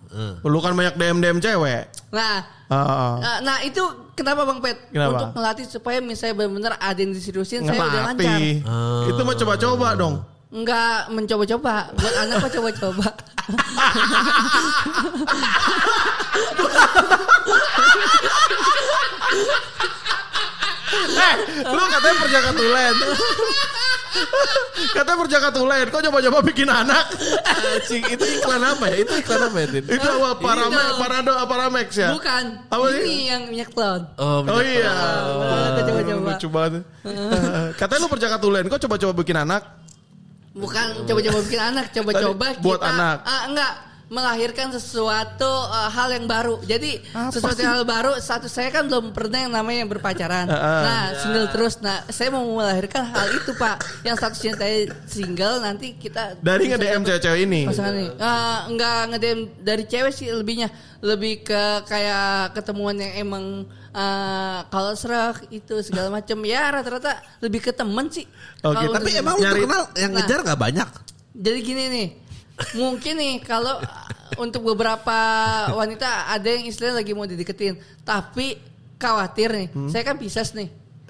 [SPEAKER 3] Eh.
[SPEAKER 2] lu kan banyak DM DM cewek.
[SPEAKER 4] nah,
[SPEAKER 2] Ah, ah.
[SPEAKER 4] eh, nah itu kenapa Bang Pet?
[SPEAKER 2] Kenapa?
[SPEAKER 4] Untuk melatih supaya misalnya benar-benar ada yang diseriusin saya udah lancar.
[SPEAKER 2] Ngelatih. Itu mau coba-coba dong.
[SPEAKER 4] Enggak mencoba-coba. Buat anak mah coba-coba.
[SPEAKER 2] Eh, lu katanya perjaka tulen. katanya perjaka tulen. Kok coba-coba bikin anak?
[SPEAKER 3] Anjing itu iklan apa ya? Itu iklan apa ya Tin?
[SPEAKER 2] Itu apa? Parame,
[SPEAKER 4] dong.
[SPEAKER 2] parado, paramex ya?
[SPEAKER 4] Bukan.
[SPEAKER 2] Apa sih?
[SPEAKER 4] ini yang minyak clown.
[SPEAKER 3] Oh,
[SPEAKER 2] Oh iya.
[SPEAKER 4] Aku coba-coba.
[SPEAKER 2] Lucu banget. katanya lu perjaka tulen. Kok coba-coba bikin anak?
[SPEAKER 4] Bukan coba-coba bikin anak, coba-coba
[SPEAKER 2] Tadi buat
[SPEAKER 4] kita-
[SPEAKER 2] anak.
[SPEAKER 4] Ah, enggak melahirkan sesuatu eh, hal yang baru. Jadi
[SPEAKER 2] Apa
[SPEAKER 4] sesuatu
[SPEAKER 2] sih? Ah,
[SPEAKER 4] hal baru. Satu saya kan belum pernah yang namanya berpacaran.
[SPEAKER 2] Heeh.
[SPEAKER 4] nah, single terus. Nah, saya mau melahirkan hal itu, Pak. Yang statusnya saya single nanti kita
[SPEAKER 2] Dari
[SPEAKER 4] bisa
[SPEAKER 2] nge-DM
[SPEAKER 4] dapat-
[SPEAKER 2] cewek-cewek
[SPEAKER 3] Iya.
[SPEAKER 2] ini.
[SPEAKER 4] pasangan ini Eh, nggak ngedem dari cewek sih lebihnya lebih ke kayak ketemuan yang emang eh, kalau serak itu segala macam ya rata-rata lebih ke temen sih
[SPEAKER 2] Oke,
[SPEAKER 4] Kalau
[SPEAKER 3] Tapi
[SPEAKER 4] untuk-
[SPEAKER 3] emang lu
[SPEAKER 2] Nyari-
[SPEAKER 3] terkenal yang
[SPEAKER 4] Nah.
[SPEAKER 3] ngejar nggak banyak.
[SPEAKER 4] jadi gini nih mungkin nih kalau eh, untuk beberapa wanita ada yang istilahnya lagi mau dideketin tapi khawatir nih
[SPEAKER 3] Hmm.
[SPEAKER 4] saya kan Pisces nih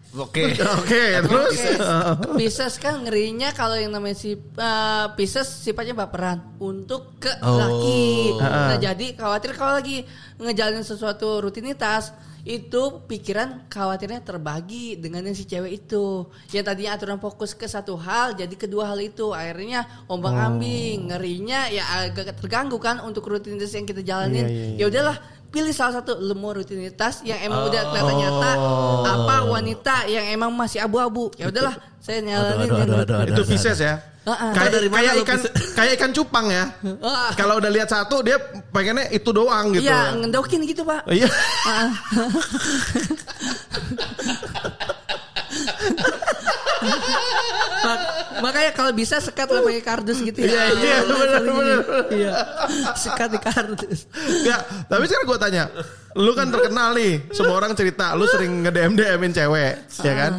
[SPEAKER 3] Oke.
[SPEAKER 2] Oke, terus.
[SPEAKER 4] Pisces. Pisces kan ngerinya kalau yang namanya si eh, Pisces sifatnya baperan untuk ke
[SPEAKER 3] Oh.
[SPEAKER 4] laki. Nah,
[SPEAKER 2] Heeh.
[SPEAKER 4] jadi khawatir kalau lagi ngejalanin sesuatu rutinitas itu pikiran khawatirnya terbagi dengan yang si cewek itu. Yang tadinya aturan fokus ke satu hal jadi kedua hal itu. Akhirnya ombang-ambing, ngerinya ya agak terganggu kan untuk rutinitas yang kita jalanin.
[SPEAKER 2] Iya, iya, iya.
[SPEAKER 4] Ya udahlah, pilih salah satu lemu rutinitas yang emang udah kelihatan nyata apa wanita yang emang masih abu-abu. Ya udahlah, saya
[SPEAKER 3] Aduh,
[SPEAKER 4] nyalain
[SPEAKER 3] aduh, aduh, aduh, aduh,
[SPEAKER 2] Itu
[SPEAKER 3] aduh,
[SPEAKER 2] Pisces ya.
[SPEAKER 4] Heeh.
[SPEAKER 2] Kayak
[SPEAKER 3] Ah, Dari mana
[SPEAKER 2] kayak
[SPEAKER 3] lu
[SPEAKER 2] ikan
[SPEAKER 3] Pisces?
[SPEAKER 2] kayak ikan cupang ya.
[SPEAKER 4] Ah.
[SPEAKER 2] Kalau udah lihat satu dia pengennya itu doang gitu.
[SPEAKER 4] Iya, ngendokin gitu, Pak.
[SPEAKER 2] Oh, Iya.
[SPEAKER 4] Ah. Mak- makanya kalau bisa sekat lah pakai kardus gitu ya.
[SPEAKER 2] Iya, iya, benar,
[SPEAKER 4] Ini.
[SPEAKER 2] benar.
[SPEAKER 4] Iya. Sekat di kardus.
[SPEAKER 2] Enggak, Ya, tapi sekarang gue tanya, lu kan terkenal nih, semua orang cerita, lu sering nge-DM DMin cewek, ya kan?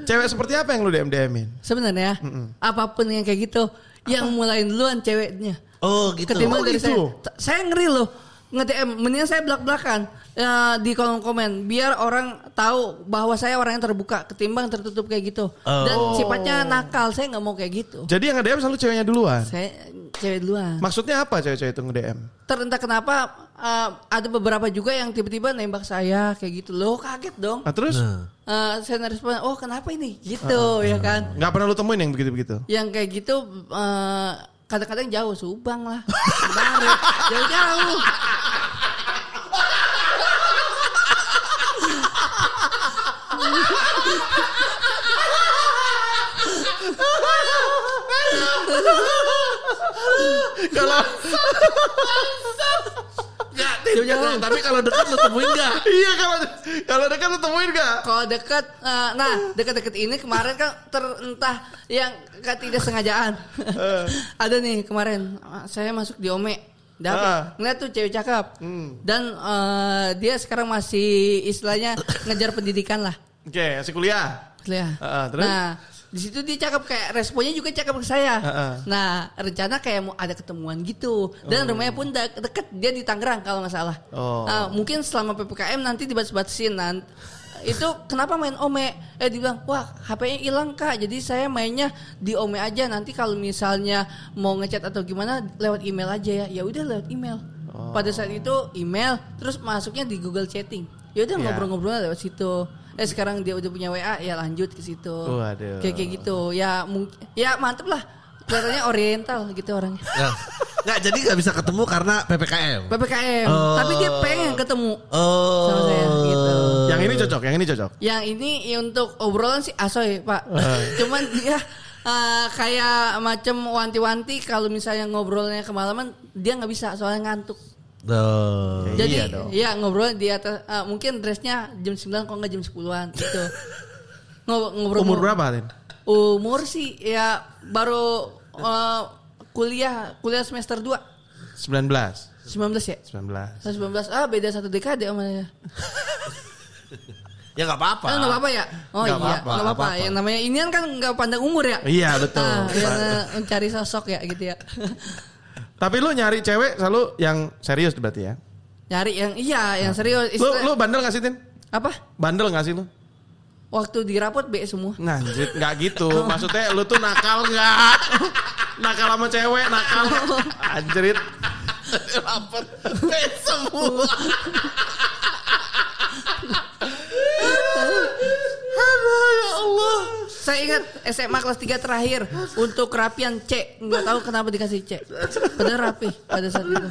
[SPEAKER 2] Cewek seperti apa yang lu DM DMin?
[SPEAKER 4] Sebenarnya apapun yang kayak gitu yang mulai duluan ceweknya.
[SPEAKER 3] Oh gitu.
[SPEAKER 4] ketimbang
[SPEAKER 2] Oh,
[SPEAKER 4] dari
[SPEAKER 2] gitu.
[SPEAKER 4] saya. T- Saya ngeri loh nge-DM. Mendingan saya belak-belakan eh, di kolom komen biar orang tahu bahwa saya orang yang terbuka ketimbang tertutup kayak gitu. Dan
[SPEAKER 2] Oh.
[SPEAKER 4] sifatnya nakal, saya nggak mau kayak gitu.
[SPEAKER 2] Jadi yang nge-DM selalu ceweknya duluan.
[SPEAKER 4] Saya cewek duluan.
[SPEAKER 2] Maksudnya apa cewek-cewek itu nge-DM?
[SPEAKER 4] Terentah kenapa eh, ada beberapa juga yang tiba-tiba nembak saya kayak gitu. Loh, kaget dong.
[SPEAKER 2] Nah, terus
[SPEAKER 3] Nah.
[SPEAKER 4] Eh, saya respon, "Oh, kenapa ini?" gitu ya kan.
[SPEAKER 2] nggak pernah lu temuin yang begitu-begitu.
[SPEAKER 4] Yang kayak gitu eh, kadang-kadang jauh Subang lah. Subang, jauh-jauh.
[SPEAKER 3] Kalau Enggak, Tim.
[SPEAKER 4] Jauh-jauh.
[SPEAKER 3] Iya, Tapi kalau dekat lu temuin enggak?
[SPEAKER 2] Iya kalau kalau dekat lu temuin gak?
[SPEAKER 4] Kalau dekat, eh, nah dekat-dekat ini kemarin kan terentah yang ketidaksengajaan.
[SPEAKER 2] Eh.
[SPEAKER 4] Ada nih kemarin, eh, saya masuk di Ome. Dapet,
[SPEAKER 2] Ah. Hmm.
[SPEAKER 4] ngeliat tuh cewek cakep. Dan eh, dia sekarang masih istilahnya ngejar pendidikan lah.
[SPEAKER 2] Oke, masih kuliah.
[SPEAKER 4] Lihat.
[SPEAKER 2] Ah, ah, terus?
[SPEAKER 4] Nah, di situ dia cakep kayak responnya juga cakep ke saya.
[SPEAKER 2] Ah, ah.
[SPEAKER 4] Nah, rencana kayak mau ada ketemuan gitu. Dan rumahnya pun de- deket dia di Tangerang kalau nggak salah.
[SPEAKER 2] Oh.
[SPEAKER 4] Ah, mungkin selama PPKM nanti dibatas-batasin nan- itu kenapa main ome eh dibilang wah HP-nya hilang kak jadi saya mainnya di ome aja nanti kalau misalnya mau ngechat atau gimana lewat email aja ya ya udah lewat email pada saat itu email terus masuknya di Google chatting ya udah
[SPEAKER 2] Ya.
[SPEAKER 4] ngobrol-ngobrol lewat situ eh sekarang dia udah punya WA ya lanjut ke situ
[SPEAKER 2] Waduh.
[SPEAKER 4] kayak kayak gitu ya mungkin ya mantep lah kelihatannya oriental gitu orangnya
[SPEAKER 3] Nah, Enggak, jadi enggak bisa ketemu karena PPKM.
[SPEAKER 4] ppkm
[SPEAKER 3] Oh.
[SPEAKER 4] tapi dia pengen ketemu
[SPEAKER 3] Oh.
[SPEAKER 4] Sama saya, gitu.
[SPEAKER 2] Yang ini cocok, yang ini cocok.
[SPEAKER 4] Yang ini ya untuk obrolan sih asoy pak.
[SPEAKER 2] Ah.
[SPEAKER 4] Cuman dia eh, kayak macam wanti-wanti kalau misalnya ngobrolnya kemalaman dia nggak bisa soalnya ngantuk.
[SPEAKER 3] Oh.
[SPEAKER 2] Iya
[SPEAKER 4] Jadi
[SPEAKER 2] dong.
[SPEAKER 4] ya ngobrol di atas eh, mungkin dressnya jam 9 kok nggak jam 10-an gitu. Ngob- ngobrol
[SPEAKER 2] Umur berapa, Rin?
[SPEAKER 4] Umur sih ya baru eh, kuliah kuliah semester 2
[SPEAKER 2] 19.
[SPEAKER 4] 19 ya.
[SPEAKER 2] 19.
[SPEAKER 4] 19 ah beda satu dekade sama dia.
[SPEAKER 3] Ya enggak apa-apa.
[SPEAKER 4] Oh, enggak apa-apa ya? Oh
[SPEAKER 3] Nggak apa-apa,
[SPEAKER 4] iya, enggak
[SPEAKER 3] nggak
[SPEAKER 4] apa-apa.
[SPEAKER 3] apa-apa.
[SPEAKER 4] Yang namanya ini kan enggak pandang umur ya?
[SPEAKER 2] Iya, betul.
[SPEAKER 4] Ah, karena mencari sosok ya gitu ya.
[SPEAKER 2] Tapi lu nyari cewek selalu yang serius berarti ya.
[SPEAKER 4] Nyari yang iya, yang serius.
[SPEAKER 2] Lu
[SPEAKER 4] Istilah-
[SPEAKER 2] lu bandel gak sih, Tin?
[SPEAKER 4] apa?
[SPEAKER 2] Bandel gak sih lu?
[SPEAKER 4] Waktu di rapot B semua.
[SPEAKER 2] Nganjit, nggak gitu. Maksudnya lu tuh nakal nggak? nakal sama cewek, nakal. Anjrit.
[SPEAKER 3] Lapar. Pet semua. Aduh, ya Allah.
[SPEAKER 4] Saya ingat SMA kelas 3 terakhir untuk kerapian C. Enggak tahu kenapa dikasih C. Padahal rapi pada saat itu.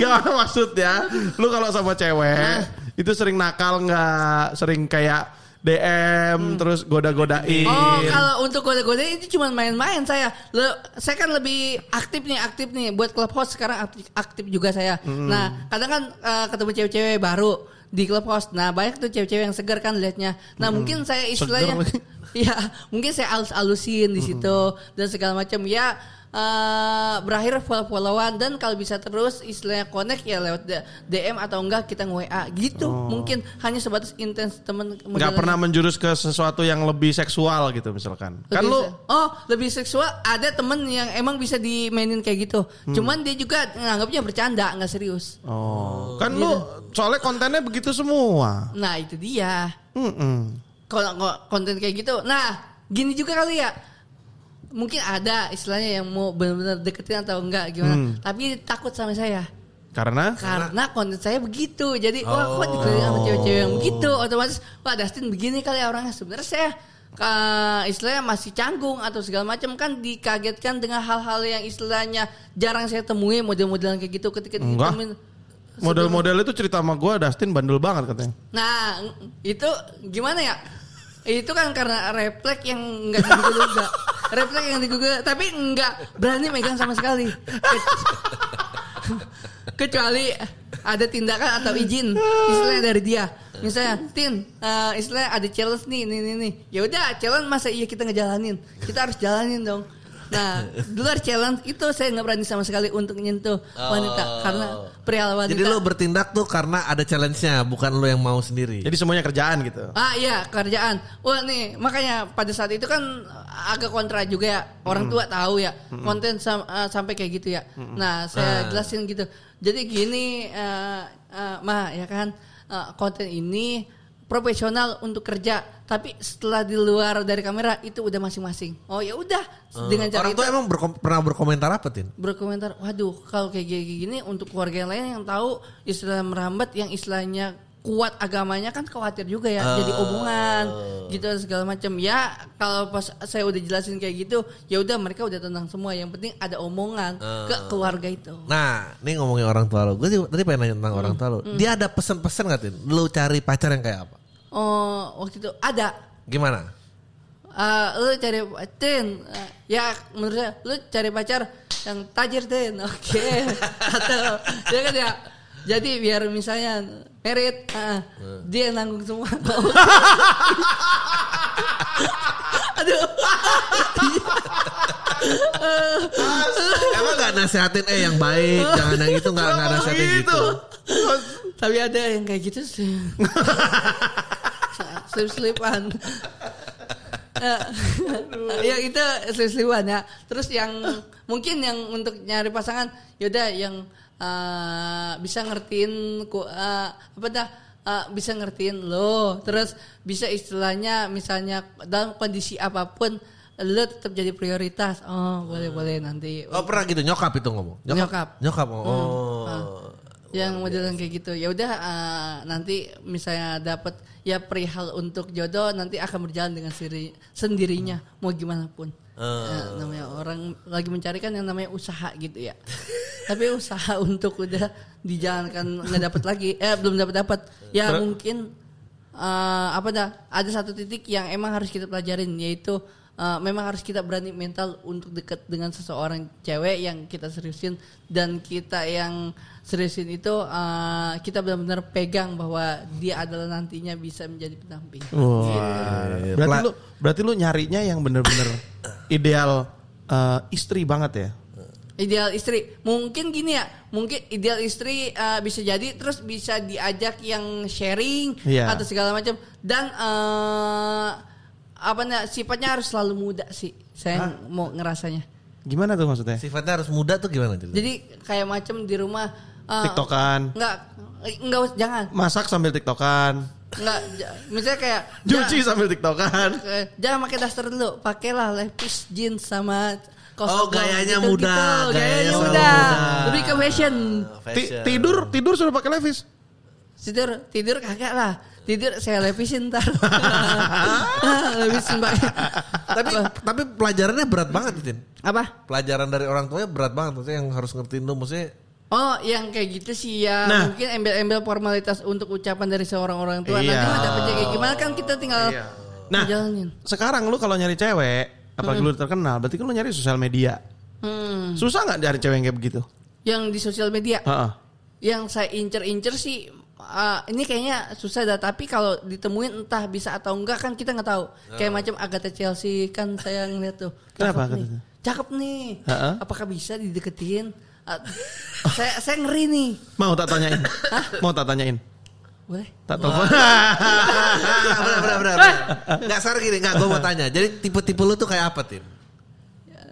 [SPEAKER 2] Gak maksud ya. Lu kalau sama cewek itu sering nakal nggak? Sering kayak DM terus goda-godain.
[SPEAKER 4] Hmm. Oh, kalau untuk kode-kode itu cuma main-main saya. Le- saya kan lebih aktif nih, aktif nih buat clubhouse sekarang aktif, aktif juga saya. Nah, kadang kan eh, ketemu cewek-cewek baru di clubhouse. Nah, banyak tuh cewek-cewek yang segar kan liatnya. Nah, mungkin saya istilahnya
[SPEAKER 2] lagi.
[SPEAKER 4] ya, mungkin saya alus-alusin di situ dan segala macam ya eh, berakhir follow-followan dan kalau bisa terus istilahnya connect ya lewat D- DM atau enggak kita nge-WA gitu. Mungkin hanya sebatas intens
[SPEAKER 2] Oh.
[SPEAKER 4] teman
[SPEAKER 2] nggak
[SPEAKER 4] menjalani
[SPEAKER 2] pernah menjurus ke sesuatu yang lebih seksual gitu misalkan. Kan
[SPEAKER 4] Lebih
[SPEAKER 2] lu
[SPEAKER 4] se- oh lebih seksual ada temen yang emang bisa dimainin kayak gitu
[SPEAKER 2] Hmm.
[SPEAKER 4] cuman dia juga nganggapnya bercanda nggak serius
[SPEAKER 2] Oh, kan lu soalnya kontennya begitu semua.
[SPEAKER 4] nah itu dia
[SPEAKER 2] Mm-mm.
[SPEAKER 4] kalau kalau konten kayak gitu nah gini juga kali ya mungkin ada istilahnya yang mau benar-benar deketin atau enggak gimana
[SPEAKER 2] Hmm.
[SPEAKER 4] tapi takut sama saya
[SPEAKER 2] Karena
[SPEAKER 4] karena konten saya begitu jadi wah kok dikelilingi sama cewek-cewek yang begitu otomatis wah Dustin begini kali ya orangnya sebenarnya saya eh, istilahnya masih canggung atau segala macam kan dikagetkan dengan hal-hal yang istilahnya jarang saya temui model-modelan kayak gitu ketika
[SPEAKER 2] Enggak.
[SPEAKER 4] ditemuin
[SPEAKER 2] model-model itu cerita sama gua Dustin bandel banget katanya.
[SPEAKER 4] nah itu gimana ya itu kan karena refleks yang enggak diduga-duga refleks yang diguga tapi enggak berani megang sama sekali kecuali ada tindakan atau izin istilahnya dari dia misalnya tin eh, istilahnya ada challenge nih nih nih nih ya udah challenge masa iya kita ngejalanin kita harus jalanin dong nah di luar challenge itu saya nggak berani sama sekali untuk nyentuh wanita karena pria wanita
[SPEAKER 3] Jadi lu bertindak tuh karena ada challenge-nya, bukan lu yang mau sendiri.
[SPEAKER 2] Jadi semuanya kerjaan gitu.
[SPEAKER 4] Ah iya kerjaan. Wah nih makanya pada saat itu kan agak kontra juga ya orang tua tahu ya konten sam- eh, sampai kayak gitu ya. Nah saya jelasin gitu. Jadi gini eh, eh, ma ya kan eh, konten ini profesional untuk kerja tapi setelah di luar dari kamera itu udah masing-masing. Oh ya udah dengan
[SPEAKER 3] Ah.
[SPEAKER 4] cara
[SPEAKER 3] Eh, Orang
[SPEAKER 4] itu
[SPEAKER 3] tuh emang berkom- pernah berkomentar apa, Tin?
[SPEAKER 4] berkomentar, waduh kalau kayak gini, gini untuk keluarga yang lain yang tahu istilah merambat yang istilahnya kuat agamanya kan khawatir juga ya jadi omongan gitu dan segala macam ya kalau pas saya udah jelasin kayak gitu ya udah mereka udah tenang semua yang penting ada omongan ke keluarga itu
[SPEAKER 3] Nah, ini ngomongin orang tua lo. Gue juga tadi pengen nanya tentang orang tua lo. Dia ada pesan-pesan gak, Tin? Lu cari pacar yang kayak apa?
[SPEAKER 4] oh waktu itu ada
[SPEAKER 3] Gimana?
[SPEAKER 4] eh, lu cari tin eh, ya menurut saya lu cari pacar yang tajir tin oke atau ya kan ya jadi biar misalnya merit ah, dia yang nanggung semua aduh
[SPEAKER 3] Emang gak nasehatin eh yang baik, jangan yang itu nggak nggak nasehatin gitu.
[SPEAKER 4] tapi ada yang kayak gitu sih slip slipan Eh, ya itu slip slipan ya terus yang mungkin yang untuk nyari pasangan yaudah yang eh, bisa ngertiin ku eh, apa dah eh, bisa ngertiin lo terus bisa istilahnya misalnya dalam kondisi apapun lo tetap jadi prioritas oh boleh boleh nanti
[SPEAKER 3] Oh pernah gitu nyokap itu ngomong.
[SPEAKER 4] Nyokap.
[SPEAKER 3] Nyokap. Oh.
[SPEAKER 4] yang modelan kayak gitu ya udah eh, nanti misalnya dapat ya perihal untuk jodoh nanti akan berjalan dengan sendiri sendirinya mau gimana pun Eh, namanya orang lagi mencari kan yang namanya usaha gitu ya tapi usaha untuk udah dijalankan nggak dapat lagi eh belum dapat dapat ya mungkin eh, apa dah ada satu titik yang emang harus kita pelajarin yaitu eh, memang harus kita berani mental untuk deket dengan seseorang cewek yang kita seriusin dan kita yang seriusin itu eh, kita benar-benar pegang bahwa dia adalah nantinya bisa menjadi pendamping.
[SPEAKER 2] Wah. Berarti lu berarti lu nyarinya yang bener-bener ideal eh, istri banget ya.
[SPEAKER 4] Ideal istri mungkin gini ya, mungkin ideal istri eh, bisa jadi terus bisa diajak yang sharing
[SPEAKER 2] Iya.
[SPEAKER 4] atau segala macam dan eh apa namanya, sifatnya harus selalu muda sih. Saya mau ngerasanya.
[SPEAKER 2] Gimana tuh maksudnya?
[SPEAKER 4] Eh.
[SPEAKER 3] Sifatnya harus muda tuh gimana? Jadi
[SPEAKER 4] Jadi kayak macam di rumah eh,
[SPEAKER 2] Tiktokan.
[SPEAKER 4] Enggak, enggak us- jangan.
[SPEAKER 2] Masak sambil tiktokan.
[SPEAKER 4] Enggak, j- misalnya kayak
[SPEAKER 2] Cuci sambil tiktokan.
[SPEAKER 4] jangan, eh, jangan pakai daster dulu, pakailah levis jeans sama kaos
[SPEAKER 3] Oh,
[SPEAKER 4] oblong
[SPEAKER 3] gayanya
[SPEAKER 4] gitu-gitu.
[SPEAKER 3] muda,
[SPEAKER 4] gayanya,
[SPEAKER 3] gayanya selalu
[SPEAKER 4] muda.
[SPEAKER 3] muda.
[SPEAKER 4] Lebih ke fashion.
[SPEAKER 3] Ah,
[SPEAKER 2] Ti- tidur tidur sudah pakai levis.
[SPEAKER 4] Tidur, tidur kagak lah. Tidur saya levisin ntar. Ah, levisin pakai.
[SPEAKER 3] tapi tapi pelajarannya berat banget Tin.
[SPEAKER 4] apa?
[SPEAKER 3] Hmm. Pelajaran dari orang tuanya berat banget maksudnya yang harus ngertiin lu maksudnya
[SPEAKER 4] Oh, yang kayak gitu sih ya.
[SPEAKER 2] Nah.
[SPEAKER 4] Mungkin embel-embel formalitas untuk ucapan dari seorang orang tua.
[SPEAKER 2] Iya.
[SPEAKER 4] Nanti mah dapetnya kayak gimana kan kita tinggal
[SPEAKER 2] Nah.
[SPEAKER 4] jalanin.
[SPEAKER 2] Sekarang lu kalau nyari cewek, apalagi lu terkenal, berarti kan lu nyari sosial media.
[SPEAKER 4] Hmm.
[SPEAKER 2] Susah nggak nyari cewek yang kayak begitu?
[SPEAKER 4] Yang di sosial media.
[SPEAKER 2] Heeh.
[SPEAKER 4] Yang saya incer-incer sih uh, ini kayaknya susah dah tapi kalau ditemuin entah bisa atau enggak kan kita nggak tahu. Kayak macam Agatha Chelsea kan saya ngeliat tuh.
[SPEAKER 2] Oh. Kenapa
[SPEAKER 4] cakep nih.
[SPEAKER 2] Agatha?
[SPEAKER 4] Cakep nih.
[SPEAKER 2] Heeh.
[SPEAKER 4] Apakah bisa dideketin? Uh, saya saya ngeri nih.
[SPEAKER 2] Mau tak tanyain? Mau tak tanyain?
[SPEAKER 4] Boleh.
[SPEAKER 2] Tak telepon.
[SPEAKER 3] Enggak benar benar benar. Enggak sar gini, enggak gua mau tanya. Jadi tipe-tipe lu tuh kayak apa, Tim?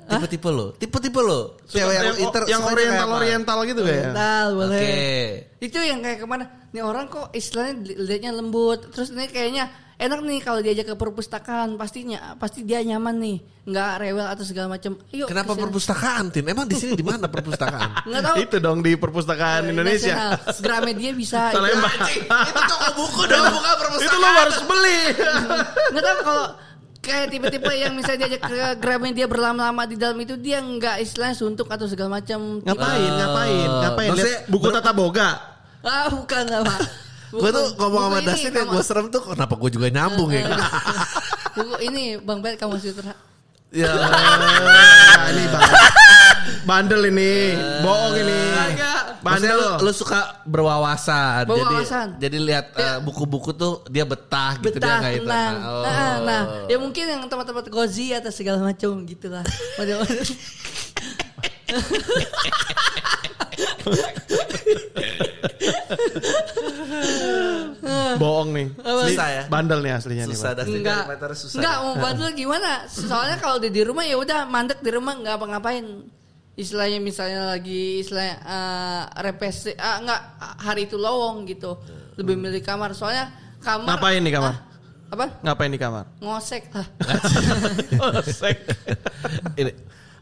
[SPEAKER 3] Tipe-tipe lu. Tipe-tipe lu. Cewek yang, inter
[SPEAKER 2] yang
[SPEAKER 3] sukanya kayak
[SPEAKER 2] oriental
[SPEAKER 3] apa?
[SPEAKER 2] oriental gitu kayak.
[SPEAKER 4] Bentar,
[SPEAKER 3] Oke.
[SPEAKER 4] boleh. Itu yang kayak kemana? Nih orang kok istilahnya li- liatnya lembut. Terus ini kayaknya enak nih kalau diajak ke perpustakaan. Pastinya pasti dia nyaman nih. Nggak rewel atau segala macam. Yuk.
[SPEAKER 3] Kenapa
[SPEAKER 4] kesini.
[SPEAKER 3] perpustakaan, Tin? Emang di sini di mana perpustakaan?
[SPEAKER 4] Nggak tahu. Iya,
[SPEAKER 2] Itu dong di perpustakaan Indonesia.
[SPEAKER 4] Nasional. Gramedia
[SPEAKER 3] Iya.
[SPEAKER 4] bisa.
[SPEAKER 2] Palembang.
[SPEAKER 3] itu toko buku dong, bukan
[SPEAKER 2] Itu lu harus beli.
[SPEAKER 4] Nggak tahu kalau kayak tipe-tipe yang misalnya diajak ke Gramedia berlama-lama di dalam itu dia nggak istilahnya suntuk atau segala macam. Tipe-
[SPEAKER 2] ngapain? Ngapain? Ngapain? Lihat
[SPEAKER 3] Ah. Maksudnya
[SPEAKER 2] buku tata boga.
[SPEAKER 4] Ah bukan lah pak.
[SPEAKER 3] Gue tuh ngomong sama Dasin
[SPEAKER 4] Dasin
[SPEAKER 3] yang gue serem tuh kenapa gue juga nyambung ya.
[SPEAKER 4] Oh, Buku ini Bang Bet kamu Sutra.
[SPEAKER 3] ya.
[SPEAKER 2] Nah,
[SPEAKER 3] Ah.
[SPEAKER 2] ini bang- bandel ini, bohong ini.
[SPEAKER 3] Maksudnya
[SPEAKER 2] Bandel
[SPEAKER 3] lu,
[SPEAKER 2] lo.
[SPEAKER 3] lu suka berwawasan.
[SPEAKER 4] Berwawasan.
[SPEAKER 3] Jadi jadi lihat eh, buku-buku tuh dia betah, gitu dia
[SPEAKER 4] betah
[SPEAKER 3] nggak itu.
[SPEAKER 4] tenang.
[SPEAKER 3] Oh.
[SPEAKER 4] Nah, nah, ya mungkin yang tempat-tempat gozi atau segala macam gitulah. Model-model.
[SPEAKER 2] Bohong nih.
[SPEAKER 3] Susah ya.
[SPEAKER 2] Bandel nih aslinya nih.
[SPEAKER 3] Susah
[SPEAKER 2] Bang.
[SPEAKER 3] dah sih
[SPEAKER 4] Enggak.
[SPEAKER 3] parameternya susah. ya?
[SPEAKER 4] Enggak mau bantu gimana? Soalnya kalau di di rumah ya udah mandek di rumah nggak apa-ngapain. Istilahnya misalnya lagi istilahnya eh, represi ah enggak hari itu lowong gitu. Lebih milih kamar soalnya kamar
[SPEAKER 2] Ngapain di kamar?
[SPEAKER 4] Ah, apa?
[SPEAKER 2] Ngapain di kamar?
[SPEAKER 4] Ngosek lah.
[SPEAKER 3] Oh, Ini,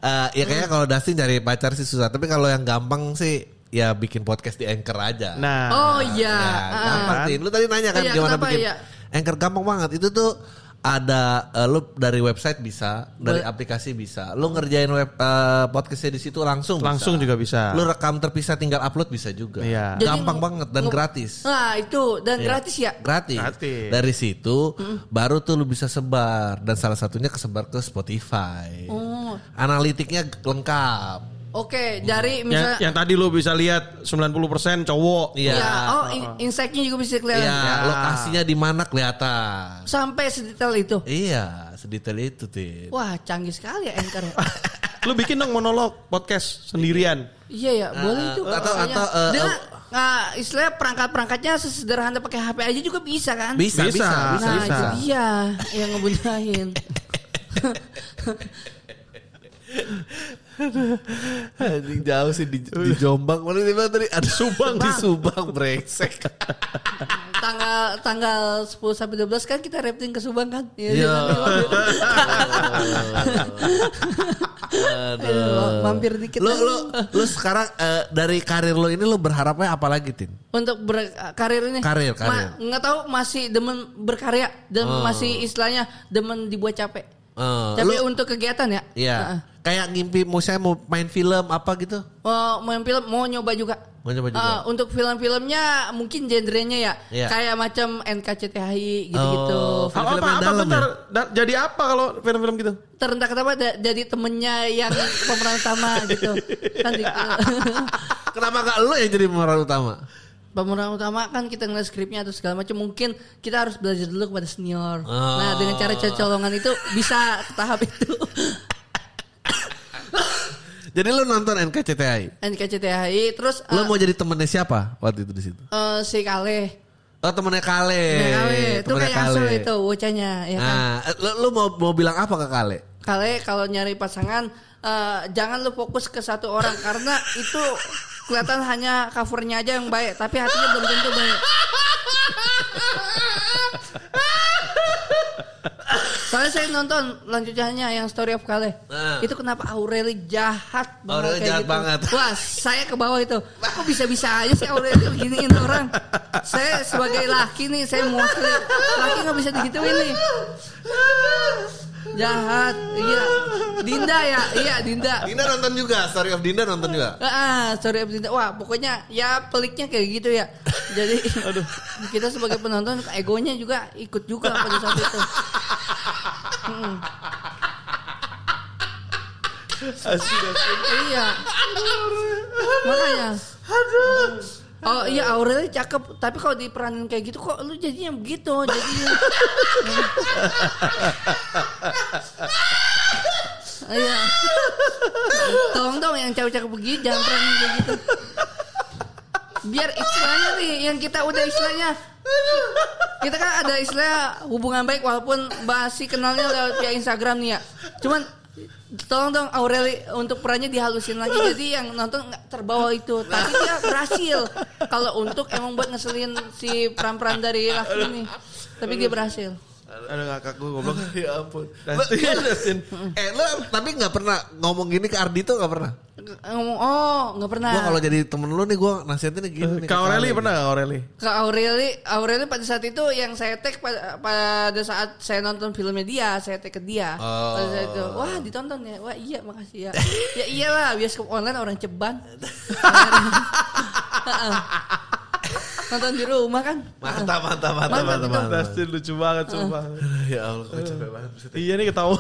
[SPEAKER 3] eh, ya kayaknya kalau Dustin cari pacar sih susah, tapi kalau yang gampang sih ya bikin podcast di Anchor aja.
[SPEAKER 2] Nah,
[SPEAKER 4] oh
[SPEAKER 3] Ya,
[SPEAKER 4] iya. Ah.
[SPEAKER 3] gampang sih. Lu tadi nanya kan
[SPEAKER 4] Iya,
[SPEAKER 3] gimana
[SPEAKER 4] kenapa
[SPEAKER 3] bikin
[SPEAKER 4] ya?
[SPEAKER 3] anchor gampang banget. Itu tuh ada eh, lu dari website bisa, dari aplikasi bisa. Lu ngerjain web eh, podcastnya di situ langsung bisa.
[SPEAKER 2] Langsung juga bisa.
[SPEAKER 3] Lu rekam terpisah tinggal upload bisa juga.
[SPEAKER 2] Iya.
[SPEAKER 4] Jadi
[SPEAKER 3] Gampang
[SPEAKER 4] nge-
[SPEAKER 3] banget dan
[SPEAKER 4] nge-
[SPEAKER 3] gratis.
[SPEAKER 4] Nah itu dan gratis ya.
[SPEAKER 3] Gratis.
[SPEAKER 2] Gratis.
[SPEAKER 3] Dari situ baru tuh lu bisa sebar dan salah satunya kesebar ke Spotify.
[SPEAKER 4] Oh,
[SPEAKER 3] Analitiknya lengkap.
[SPEAKER 4] oke
[SPEAKER 2] Yang,
[SPEAKER 4] dari misalnya
[SPEAKER 2] yang tadi lu bisa lihat 90% cowok.
[SPEAKER 3] Iya.
[SPEAKER 4] ya, oh in- insight-nya juga bisa kelihatan.
[SPEAKER 3] Iya, lokasinya di mana kelihatan.
[SPEAKER 4] Sampai sedetail itu.
[SPEAKER 3] Iya, sedetail itu,
[SPEAKER 2] Iya.
[SPEAKER 3] Tin.
[SPEAKER 4] Wah, canggih sekali ya Anchor ya.
[SPEAKER 2] Lu bikin dong monolog podcast sendirian.
[SPEAKER 4] Iya ya, boleh itu.
[SPEAKER 3] Ah, atau-
[SPEAKER 4] kayaknya.
[SPEAKER 3] atau, eh,
[SPEAKER 4] Dengan,
[SPEAKER 3] eh,
[SPEAKER 4] nah, istilah perangkat-perangkatnya sesederhana pakai HP aja juga bisa kan?
[SPEAKER 3] Bisa, bisa,
[SPEAKER 2] Bisa.
[SPEAKER 3] bisa.
[SPEAKER 4] Nah,
[SPEAKER 2] bisa.
[SPEAKER 4] itu dia yang ngebudahin.
[SPEAKER 3] Anjing jauh sih di, di Jombang. Mana gitu. di mana tadi? Ada Subang di Subang brengsek.
[SPEAKER 4] tanggal tanggal 10 sampai 12 kan kita rafting ke Subang kan? Iya.
[SPEAKER 3] Iya.
[SPEAKER 4] Aduh, mampir dikit. ya.
[SPEAKER 3] Lu
[SPEAKER 4] lah.
[SPEAKER 3] lu lu sekarang eh, dari karir lu ini lu berharapnya apa lagi, Tin?
[SPEAKER 4] untuk berkarir ini
[SPEAKER 3] Karir,
[SPEAKER 4] Ma-
[SPEAKER 3] karir. Oh.
[SPEAKER 4] nggak tahu masih demen berkarya dan masih istilahnya demen dibuat capek
[SPEAKER 3] Eh,
[SPEAKER 4] capek
[SPEAKER 3] lu-
[SPEAKER 4] untuk kegiatan ya Heeh.
[SPEAKER 3] Iya. Kayak ngimpi mau saya mau main film apa gitu.
[SPEAKER 4] Oh, mau yang film mau nyoba juga
[SPEAKER 3] Mau coba juga.
[SPEAKER 4] Eh, untuk film-filmnya mungkin genrenya ya
[SPEAKER 3] Iya.
[SPEAKER 4] kayak macam NKCTHI gitu-gitu
[SPEAKER 3] Oh.
[SPEAKER 2] Apa apa,
[SPEAKER 3] Film-film yang
[SPEAKER 2] apa
[SPEAKER 3] dalam
[SPEAKER 2] bentar, Da- jadi apa kalau film-film gitu?
[SPEAKER 4] terendah kenapa da- jadi temennya yang pemeran utama gitu kan di-
[SPEAKER 3] Kenapa gak lu yang jadi pemeran utama?
[SPEAKER 4] pemeran utama kan kita ngeliat skripnya atau segala macam mungkin kita harus belajar dulu kepada senior
[SPEAKER 3] Oh.
[SPEAKER 4] nah dengan cara colongan itu bisa ke tahap itu
[SPEAKER 3] Jadi lu nonton NKCTI.
[SPEAKER 4] NKCTHI terus
[SPEAKER 3] Lu
[SPEAKER 4] eh,
[SPEAKER 3] mau jadi temennya siapa waktu itu di situ?
[SPEAKER 4] eh, si Kale.
[SPEAKER 3] Oh temennya Kale.
[SPEAKER 4] Nah, Kale itu
[SPEAKER 3] Temennya
[SPEAKER 4] kayak asuh itu bocahnya ya kan.
[SPEAKER 3] Nah, lu, lu mau mau bilang apa ke Kale?
[SPEAKER 4] Kale kalau nyari pasangan eh, jangan lu fokus ke satu orang karena itu kelihatan hanya covernya aja yang baik tapi hatinya belum tentu baik. Soalnya saya nonton lanjutannya yang Story of Kale.
[SPEAKER 3] Nah.
[SPEAKER 4] Itu kenapa Aureli jahat banget
[SPEAKER 3] Aureli
[SPEAKER 4] kayak
[SPEAKER 3] jahat
[SPEAKER 4] gitu.
[SPEAKER 3] banget.
[SPEAKER 4] Wah, saya ke bawah itu. Kok bisa-bisa aja sih Aureli giniin orang. Saya sebagai laki nih, saya mewakili. Laki nggak bisa digituin nih. Jahat, iya. Dinda ya, iya Dinda.
[SPEAKER 3] Dinda nonton juga, Story of Dinda nonton juga.
[SPEAKER 4] Ah, sorry Abdinda. Wah, pokoknya ya peliknya kayak gitu ya. Jadi kita sebagai penonton egonya juga ikut juga pada saat itu. Mm. iya. Makanya. Oh iya Aurel cakep, tapi kalau diperanin kayak gitu kok lu jadinya begitu, jadinya. Iya. Tolong dong yang cewek-cewek begini jangan peranin kayak gitu. Biar istilahnya nih yang kita udah istilahnya kita kan ada istilah hubungan baik walaupun basi kenalnya lewat via Instagram nih ya. Cuman tolong dong Aureli untuk perannya dihalusin lagi jadi yang nonton nggak terbawa itu tapi dia berhasil kalau untuk emang buat ngeselin si peran-peran dari laki ini tapi dia berhasil
[SPEAKER 2] Aduh kakak gue goblok.
[SPEAKER 3] ya ampun.
[SPEAKER 2] Dustin,
[SPEAKER 3] Lu- eh lu tapi nggak pernah ngomong gini ke Ardito nggak pernah.
[SPEAKER 4] ngomong oh nggak pernah
[SPEAKER 3] Gua kalau jadi temen lu nih gua nasihatin gini. nih, ke
[SPEAKER 2] Kak Aureli
[SPEAKER 3] Kale.
[SPEAKER 2] pernah gak Aureli?
[SPEAKER 4] ke Aureli Aureli pada saat itu yang saya tag pada, pada saat saya nonton filmnya dia saya tag ke dia pada saat itu wah ditonton ya wah iya makasih ya ya iyalah bioskop online orang ceban Heeh. nonton di rumah kan
[SPEAKER 3] Mantap, mantap, mantap,
[SPEAKER 4] Mantap
[SPEAKER 3] mantap.
[SPEAKER 4] itu.
[SPEAKER 3] mantap.
[SPEAKER 2] Dustin lucu banget sumpah.
[SPEAKER 3] Ya Allah, gua capek banget.
[SPEAKER 2] Iya nih ketawa.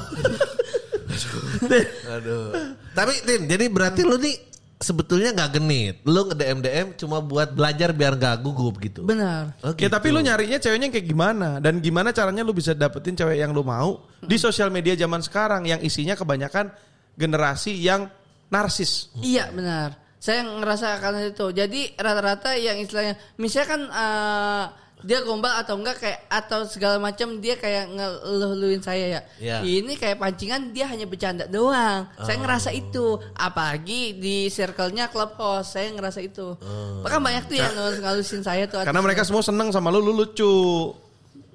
[SPEAKER 3] Aduh. Tapi Tin, jadi berarti lu nih sebetulnya nggak genit. Lu nge-DM DM cuma buat belajar biar nggak gugup gitu.
[SPEAKER 4] benar
[SPEAKER 3] Oh,
[SPEAKER 2] Ya
[SPEAKER 3] gitu.
[SPEAKER 2] tapi lu nyarinya ceweknya yang kayak gimana dan gimana caranya lu bisa dapetin cewek yang lu mau di sosial media zaman sekarang yang isinya kebanyakan generasi yang narsis.
[SPEAKER 4] Iya benar. Saya ngerasa karena itu. Jadi rata-rata yang istilahnya, misalnya kan eh, dia gombal atau enggak kayak atau segala macam dia kayak ngeluh-luhin saya ya.
[SPEAKER 3] Iya.
[SPEAKER 4] Ini kayak pancingan dia hanya bercanda doang. Saya ngerasa itu. Apalagi di circle-nya clubhouse, saya ngerasa itu. Bahkan banyak tuh yang ngelusin saya tuh.
[SPEAKER 2] Karena mereka semua seneng sama lu, lu lucu.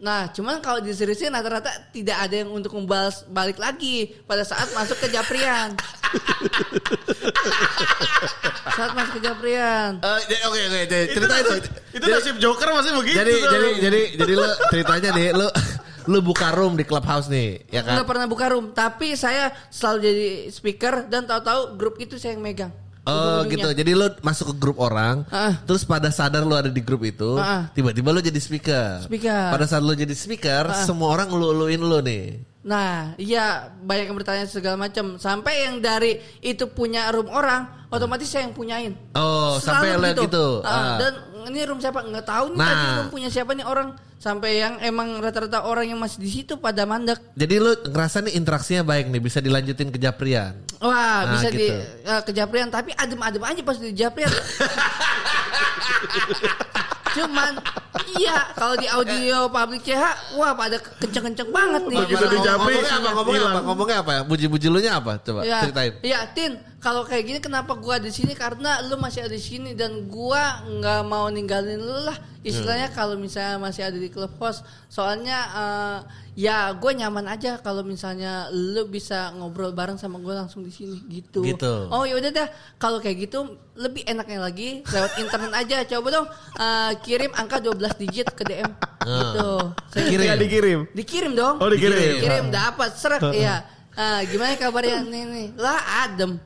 [SPEAKER 4] Nah, cuman kalau diseriusin rata-rata tidak ada yang untuk membalas balik lagi pada saat masuk ke Japrian. saat masuk ke Japrian.
[SPEAKER 3] Eh, ya, oke oke jadi cerita itu.
[SPEAKER 2] Itu nasib Joker masih begitu.
[SPEAKER 3] Jadi
[SPEAKER 2] tuh.
[SPEAKER 3] jadi jadi jadi lu ceritanya nih lu Lu buka room di clubhouse nih, ya kan?
[SPEAKER 4] Nggak pernah buka room, tapi saya selalu jadi speaker dan tahu-tahu grup itu saya yang megang.
[SPEAKER 3] Oh gitu.
[SPEAKER 4] Ujung-ujungnya.
[SPEAKER 3] Jadi lu masuk ke grup orang,
[SPEAKER 4] Ah.
[SPEAKER 3] terus pada sadar lu ada di grup itu,
[SPEAKER 4] Ah.
[SPEAKER 3] tiba-tiba lu jadi speaker.
[SPEAKER 4] Speaker. Ah.
[SPEAKER 3] Pada saat lu jadi speaker, semua orang lu-luin lu nih.
[SPEAKER 4] Nah, iya banyak yang bertanya segala macam. Sampai yang dari itu punya room orang, otomatis saya yang punyain.
[SPEAKER 3] Oh, sampai
[SPEAKER 4] Selalu
[SPEAKER 3] lihat gitu. Ah.
[SPEAKER 4] Ah, Dan ini room siapa? Nggak tahu nih
[SPEAKER 3] Nah.
[SPEAKER 4] tadi room punya siapa nih orang. Sampai yang emang rata-rata orang yang masih di situ pada mandek.
[SPEAKER 3] Jadi lu ngerasa nih interaksinya baik nih, bisa dilanjutin ke Japrian.
[SPEAKER 4] Wah,
[SPEAKER 3] Nah,
[SPEAKER 4] bisa di
[SPEAKER 3] gitu.
[SPEAKER 4] eh, ke Japrian tapi adem-adem aja pas di Japrian. Cuman iya kalau di audio public CH wah pada kenceng-kenceng banget nih.
[SPEAKER 2] Begitu di
[SPEAKER 4] Orang-
[SPEAKER 2] Japri,
[SPEAKER 3] ngomongnya apa? Ngomongnya apa?
[SPEAKER 2] hilang.
[SPEAKER 3] Ngomongnya apa? Muji-muji lu nya apa? Coba
[SPEAKER 4] Ya,
[SPEAKER 3] ceritain.
[SPEAKER 4] ya, Tin, kalau kayak gini kenapa gua ada di sini? Karena lu masih ada di sini dan gua nggak mau ninggalin lu lah. Istilahnya
[SPEAKER 3] Hmm.
[SPEAKER 4] kalau misalnya masih ada di clubhouse, soalnya eh, ya gue nyaman aja kalau misalnya lu bisa ngobrol bareng sama gue langsung di sini gitu.
[SPEAKER 3] Gitu.
[SPEAKER 4] Oh ya udah dah, kalau kayak gitu lebih enaknya lagi lewat internet aja. Coba dong eh, kirim angka 12 digit ke DM
[SPEAKER 3] Nah.
[SPEAKER 4] gitu. Saya-
[SPEAKER 3] Dikirim.
[SPEAKER 2] Nggak dikirim.
[SPEAKER 4] Dikirim dong.
[SPEAKER 2] Oh, dikirim.
[SPEAKER 4] Dikirim dapat serak ya. Ah, gimana kabarnya nih nih? Lah adem.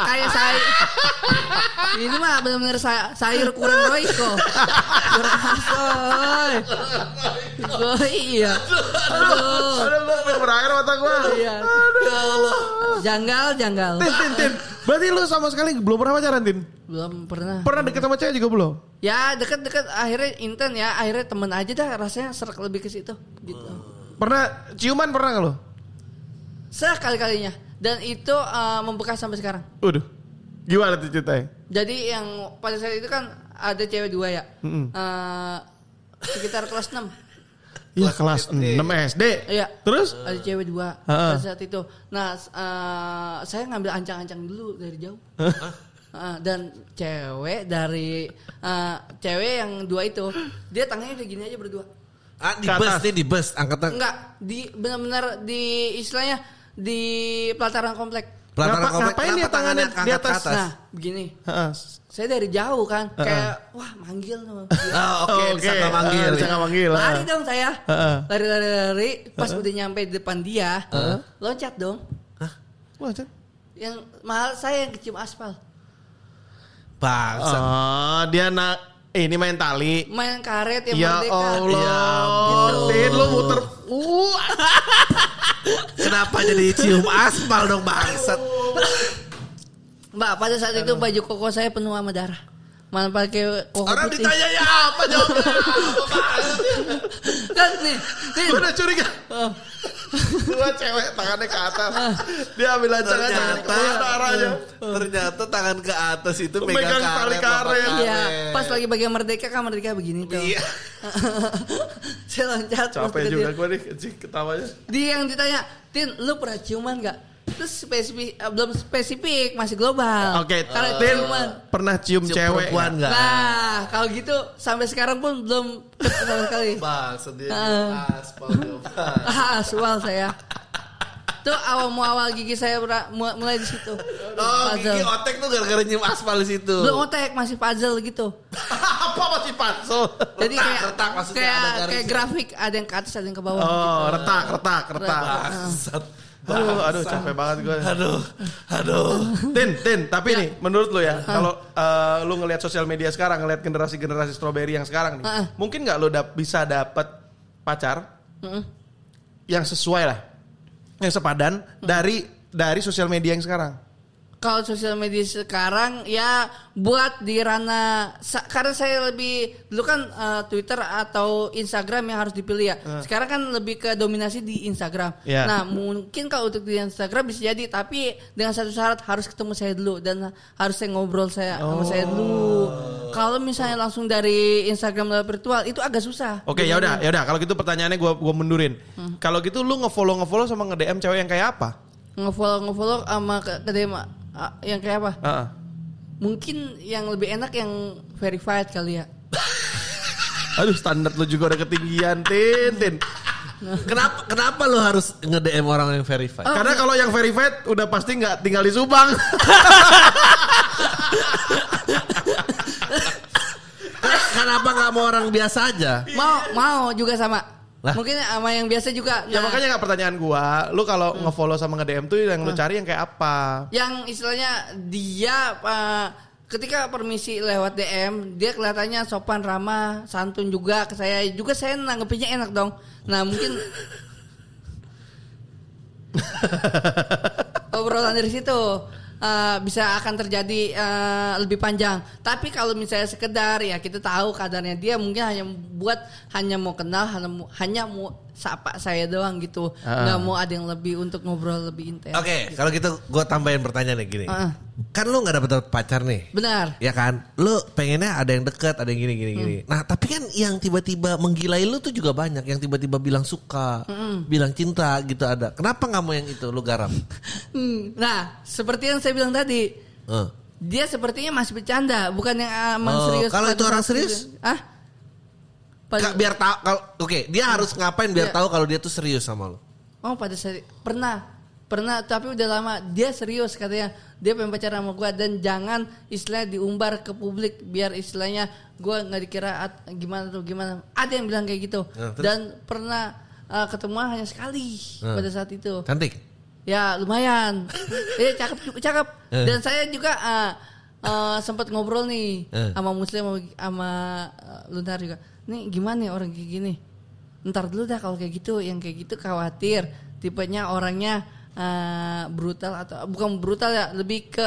[SPEAKER 4] Kayak saya ini mah benar-benar sa- sayur kurang roiko. Kurang hasoy. Oh iya. Aduh.
[SPEAKER 2] Aduh, lu berakhir otak gua.
[SPEAKER 4] Oh. Iya. Janggal, janggal.
[SPEAKER 2] Tin, tin, tin. Berarti lu sama sekali belum pernah pacaran, Tin?
[SPEAKER 4] Belum pernah.
[SPEAKER 2] Pernah deket sama cewek juga belum?
[SPEAKER 4] Ya deket-deket akhirnya inten ya akhirnya temen aja dah rasanya serak lebih ke situ gitu.
[SPEAKER 2] Pernah ciuman pernah gak lu?
[SPEAKER 4] Sekali-kalinya dan itu eh, membekas sampai sekarang.
[SPEAKER 2] Waduh. Gimana tuh ceritanya?
[SPEAKER 4] Jadi yang pada saat itu kan ada cewek dua ya.
[SPEAKER 2] Mm-mm.
[SPEAKER 4] Eh, sekitar kelas 6.
[SPEAKER 2] Ya kelas 6 SD.
[SPEAKER 4] Iya.
[SPEAKER 2] Terus?
[SPEAKER 4] Ada cewek dua
[SPEAKER 2] Ha-ha.
[SPEAKER 4] pada saat itu. Nah, s- eh, saya ngambil ancang-ancang dulu dari jauh. Eh, dan cewek dari eh, cewek yang dua itu, dia tangannya udah gini aja berdua.
[SPEAKER 3] Ah, di
[SPEAKER 2] Ke
[SPEAKER 3] bus
[SPEAKER 2] atas.
[SPEAKER 3] nih, di bus angkatan
[SPEAKER 4] Enggak, di benar-benar di istilahnya di pelataran komplek.
[SPEAKER 3] pelataran
[SPEAKER 2] Ngapa-
[SPEAKER 3] komplek.
[SPEAKER 2] ngapain
[SPEAKER 3] Kenapa
[SPEAKER 2] dia tangannya
[SPEAKER 3] tangannya
[SPEAKER 2] di
[SPEAKER 3] angkat ke
[SPEAKER 2] atas?
[SPEAKER 3] atas?
[SPEAKER 4] Nah, begini.
[SPEAKER 2] Heeh.
[SPEAKER 4] Saya dari jauh kan, kayak wah manggil tuh.
[SPEAKER 3] Ah, oke,
[SPEAKER 2] Nah, Oke,
[SPEAKER 3] disangka manggil.
[SPEAKER 2] eh, disangka manggil. ah.
[SPEAKER 4] Lari dong saya.
[SPEAKER 2] Heeh.
[SPEAKER 4] Lari lari lari pas udah nyampe di depan dia, loncat dong.
[SPEAKER 2] Wah, Chan.
[SPEAKER 4] Yang mahal saya yang kecium aspal.
[SPEAKER 3] Bangsa.
[SPEAKER 2] Oh, dia nak ini main tali.
[SPEAKER 4] Main karet yang
[SPEAKER 2] Ya
[SPEAKER 4] merdeka.
[SPEAKER 2] Allah, Tin lu muter. Uh,
[SPEAKER 3] Kenapa jadi cium aspal dong bangsat?
[SPEAKER 2] Oh,
[SPEAKER 4] Mbak, pada saat itu baju koko saya penuh sama darah. Mana pakai koko
[SPEAKER 3] Orang
[SPEAKER 4] putih.
[SPEAKER 3] ditanya ya apa jawabnya? Apa bangsat?
[SPEAKER 4] Kan nih, nih.
[SPEAKER 2] gue udah curiga.
[SPEAKER 4] Oh, Ah.
[SPEAKER 2] Dua cewek tangannya ke atas. Dia ambil ancang-ancang tangannya
[SPEAKER 3] Ternyata
[SPEAKER 2] kemana arahnya.
[SPEAKER 3] ternyata tangan ke atas itu megang,
[SPEAKER 2] Megang tali
[SPEAKER 3] karet, apa
[SPEAKER 2] karet.
[SPEAKER 4] Iya, pas lagi bagian merdeka kan merdeka begini tuh.
[SPEAKER 3] Iya.
[SPEAKER 4] saya loncat. terus
[SPEAKER 2] Capek
[SPEAKER 4] ke
[SPEAKER 2] juga
[SPEAKER 4] dia.
[SPEAKER 2] gue nih, anjing, ketawanya.
[SPEAKER 4] Dia yang ditanya, Tin, lu pernah ciuman gak? Terus spesifik, eh, belum spesifik, masih global.
[SPEAKER 2] Oke,
[SPEAKER 4] Karena
[SPEAKER 2] Tin
[SPEAKER 4] ciuman.
[SPEAKER 2] pernah cium,
[SPEAKER 3] Cium
[SPEAKER 2] cewek.
[SPEAKER 3] perempuan
[SPEAKER 2] nggak?
[SPEAKER 3] eh, enggak?
[SPEAKER 4] Nah, kalau gitu sampai sekarang pun belum ketemu sama sekali.
[SPEAKER 3] Bangsat
[SPEAKER 2] Eh.
[SPEAKER 3] dia
[SPEAKER 4] Ah.
[SPEAKER 3] aspal diobat.
[SPEAKER 4] Ah, soal saya. Tuh awal muawal gigi saya bera- mu- mulai di situ.
[SPEAKER 3] Oh, gigi
[SPEAKER 4] puzzle.
[SPEAKER 3] otek tuh gara-gara nyium aspal di situ.
[SPEAKER 4] Belum otek, masih puzzle gitu.
[SPEAKER 2] Apa masih panso?
[SPEAKER 4] Jadi
[SPEAKER 3] Retak,
[SPEAKER 4] kayak
[SPEAKER 3] retak, maksudnya
[SPEAKER 4] kayak
[SPEAKER 3] ada garis. ya?
[SPEAKER 4] kayak grafik ada yang ke atas, ada yang ke bawah.
[SPEAKER 2] Oh, retak, retak, retak.
[SPEAKER 3] Bangsat.
[SPEAKER 2] Aduh, aduh capek banget gue.
[SPEAKER 3] Aduh, aduh.
[SPEAKER 2] Tin, Tin, tapi nih menurut lu ya, kalau eh, lu ngelihat sosial media sekarang, ngelihat generasi-generasi strawberry yang sekarang nih,
[SPEAKER 4] Heeh.
[SPEAKER 2] mungkin nggak lu dap- bisa dapet pacar
[SPEAKER 4] Mm-mm.
[SPEAKER 2] yang sesuai lah, yang sepadan dari dari sosial media yang sekarang.
[SPEAKER 4] Kalau sosial media sekarang ya buat di ranah sa- karena saya lebih dulu kan eh, Twitter atau Instagram yang harus dipilih ya. Sekarang kan lebih ke dominasi di Instagram.
[SPEAKER 2] Eh. Ya.
[SPEAKER 4] Nah mungkin kalau untuk di Instagram bisa jadi tapi dengan satu syarat harus ketemu saya dulu dan harus saya ngobrol saya sama saya
[SPEAKER 2] Oh.
[SPEAKER 4] dulu. Kalau misalnya langsung dari Instagram lewat virtual itu agak susah.
[SPEAKER 2] Oke, ya udah, ya udah. Kalau gitu pertanyaannya gue gua mundurin. Kalau gitu lu ngefollow ngefollow sama nge DM cewek yang kayak apa?
[SPEAKER 4] Ngefollow ngefollow sama ke, ke dema ah, yang kayak apa?
[SPEAKER 2] Heeh.
[SPEAKER 4] Mungkin yang lebih enak yang verified kali ya.
[SPEAKER 2] Aduh standar lu juga udah ketinggian, Tin, Tin.
[SPEAKER 3] Kenapa kenapa lu harus nge-DM orang yang verified?
[SPEAKER 2] Karena kalau yang verified udah pasti nggak tinggal di Subang.
[SPEAKER 3] Karena, karena Kan, kenapa nggak mau orang biasa aja?
[SPEAKER 2] Iya.
[SPEAKER 4] Mau mau juga sama. Mungkin sama yang biasa juga.
[SPEAKER 2] Ya
[SPEAKER 4] Nah, Hmm.
[SPEAKER 2] makanya nggak pertanyaan gua, lu kalau nge-follow sama nge-DM tuh yang lu cari yang kayak apa?
[SPEAKER 4] yang istilahnya dia eh, ketika permisi lewat DM, dia kelihatannya sopan ramah, santun juga ke saya. Juga saya nanggepinnya enak dong. Nah, mungkin obrolan dari situ eh, bisa akan terjadi eh, lebih panjang. Tapi kalau misalnya sekedar ya kita tahu kadarnya dia mungkin hanya buat hanya mau kenal, hanya mau, hanya mau sapa saya doang gitu. nggak mau ada yang lebih untuk ngobrol lebih intens.
[SPEAKER 3] Oke, kalau gitu gue tambahin pertanyaan gini.
[SPEAKER 4] Ya. Heeh.
[SPEAKER 3] Kan lu nggak dapet dapet pacar nih.
[SPEAKER 4] Benar.
[SPEAKER 3] Ya kan, lu pengennya ada yang deket, ada yang gini gini gini. Nah, tapi kan yang tiba-tiba menggilai lu tuh juga banyak, yang tiba-tiba bilang suka, bilang cinta gitu ada. Kenapa nggak mau yang itu lu garam?
[SPEAKER 4] Hmm, Nah, seperti yang saya bilang tadi,
[SPEAKER 3] Eh.
[SPEAKER 4] dia sepertinya masih bercanda, bukan yang aman
[SPEAKER 3] Oh,
[SPEAKER 4] serius.
[SPEAKER 3] kalau itu
[SPEAKER 4] pada
[SPEAKER 3] orang
[SPEAKER 4] saat
[SPEAKER 3] serius?
[SPEAKER 4] itu. Ah? Pada,
[SPEAKER 3] Kak, biar tahu kalau oke, dia harus ngapain biar
[SPEAKER 4] Iya.
[SPEAKER 3] tahu kalau dia tuh serius sama lu.
[SPEAKER 4] oh, pada seri- pernah. Pernah, tapi udah lama. Dia serius katanya. Dia pengen pacaran sama gua dan jangan istilahnya diumbar ke publik biar istilahnya gua nggak dikira at- gimana tuh gimana. Ada yang bilang kayak gitu.
[SPEAKER 3] Nah, terus?
[SPEAKER 4] dan pernah eh, ketemu hanya sekali
[SPEAKER 3] Nah.
[SPEAKER 4] pada saat itu.
[SPEAKER 3] Cantik.
[SPEAKER 4] Ya lumayan. Eh cakep juga cakep.
[SPEAKER 3] Eh.
[SPEAKER 4] Dan saya juga ah, eh, sempat ngobrol nih
[SPEAKER 3] Eh.
[SPEAKER 4] sama Muslim sama, sama eh, Luntar juga. Nih gimana nih orang kayak gini? Ntar dulu dah kalau kayak gitu, yang kayak gitu khawatir tipenya orangnya eh, brutal atau bukan brutal ya, lebih ke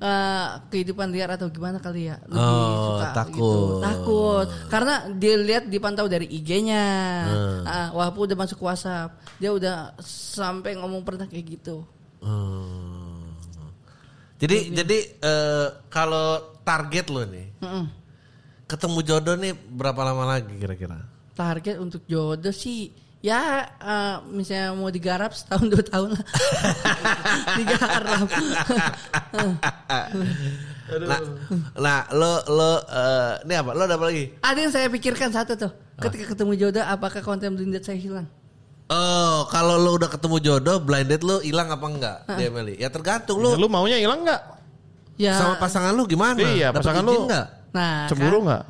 [SPEAKER 4] eh, kehidupan liar atau gimana kali ya lebih
[SPEAKER 3] Oh,
[SPEAKER 4] suka
[SPEAKER 3] takut.
[SPEAKER 4] gitu. takut karena dia lihat dipantau dari IG-nya
[SPEAKER 3] Hmm.
[SPEAKER 4] Ah, walaupun udah masuk WhatsApp dia udah sampai ngomong pernah kayak gitu
[SPEAKER 3] Hmm. Jadi jadi eh, kalau target lu nih
[SPEAKER 4] Mm-mm.
[SPEAKER 3] ketemu jodoh nih berapa lama lagi kira-kira?
[SPEAKER 4] target untuk jodoh sih ya eh, misalnya mau digarap setahun dua tahun lah digarap
[SPEAKER 3] Nah, nah lo lo eh, ini apa? Lo ada apa lagi?
[SPEAKER 4] ada yang saya pikirkan satu tuh ketika ketemu jodoh apakah konten blinded saya hilang
[SPEAKER 3] Oh, kalau lo udah ketemu jodoh, blinded lo hilang apa enggak? Dia milih. Ya tergantung
[SPEAKER 2] Lu, lu
[SPEAKER 3] lo
[SPEAKER 2] maunya hilang nggak?
[SPEAKER 4] ya
[SPEAKER 3] sama pasangan lo gimana?
[SPEAKER 2] Iya,
[SPEAKER 3] Dapet
[SPEAKER 2] pasangan
[SPEAKER 3] izin
[SPEAKER 2] lu-
[SPEAKER 3] enggak?
[SPEAKER 4] nah
[SPEAKER 2] Cemburu
[SPEAKER 4] kan,
[SPEAKER 2] nggak?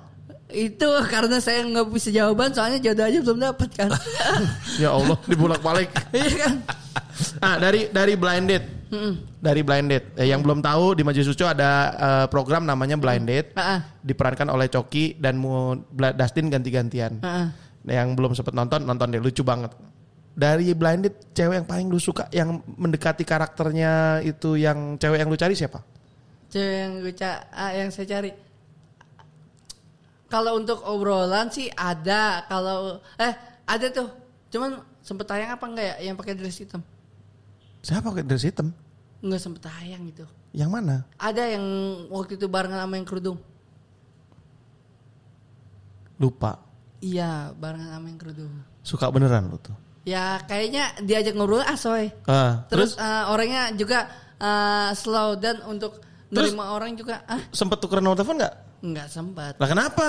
[SPEAKER 4] itu karena saya nggak bisa jawaban soalnya jodoh aja belum dapat kan
[SPEAKER 2] Ya Allah, dibulak balik.
[SPEAKER 4] iya kan
[SPEAKER 2] Ah, dari dari blind date.
[SPEAKER 4] Hmm.
[SPEAKER 2] Dari blind date. Eh, yang belum tahu di Majelis Sucu ada eh, program namanya blind date.
[SPEAKER 4] Ah, ah.
[SPEAKER 2] Diperankan oleh Coki dan Mu Bla- Dustin ganti-gantian.
[SPEAKER 4] Ah, ah.
[SPEAKER 2] Nah, Yang belum sempat nonton, nonton deh lucu banget. Dari blind date, cewek yang paling lu suka yang mendekati karakternya itu yang cewek yang lu cari siapa?
[SPEAKER 4] Cewek yang gue ca- ah, yang saya cari. Kalau untuk obrolan sih ada, kalau eh ada tuh. Cuman sempet tayang apa enggak ya yang pakai dress hitam?
[SPEAKER 2] Siapa pakai dress hitam?
[SPEAKER 4] Enggak sempet tayang itu.
[SPEAKER 2] Yang mana?
[SPEAKER 4] Ada yang waktu itu barengan sama yang kerudung.
[SPEAKER 2] Lupa.
[SPEAKER 4] Iya, barengan sama yang kerudung.
[SPEAKER 2] Suka beneran lu tuh.
[SPEAKER 4] Ya kayaknya diajak ngobrol asoy.
[SPEAKER 2] Ah,
[SPEAKER 4] Terus, eh, orangnya juga eh, slow dan untuk
[SPEAKER 2] Terus-
[SPEAKER 4] nerima orang juga ah
[SPEAKER 2] sempet tukeran nomor telepon nggak?
[SPEAKER 4] enggak sempat.
[SPEAKER 2] Lah kenapa?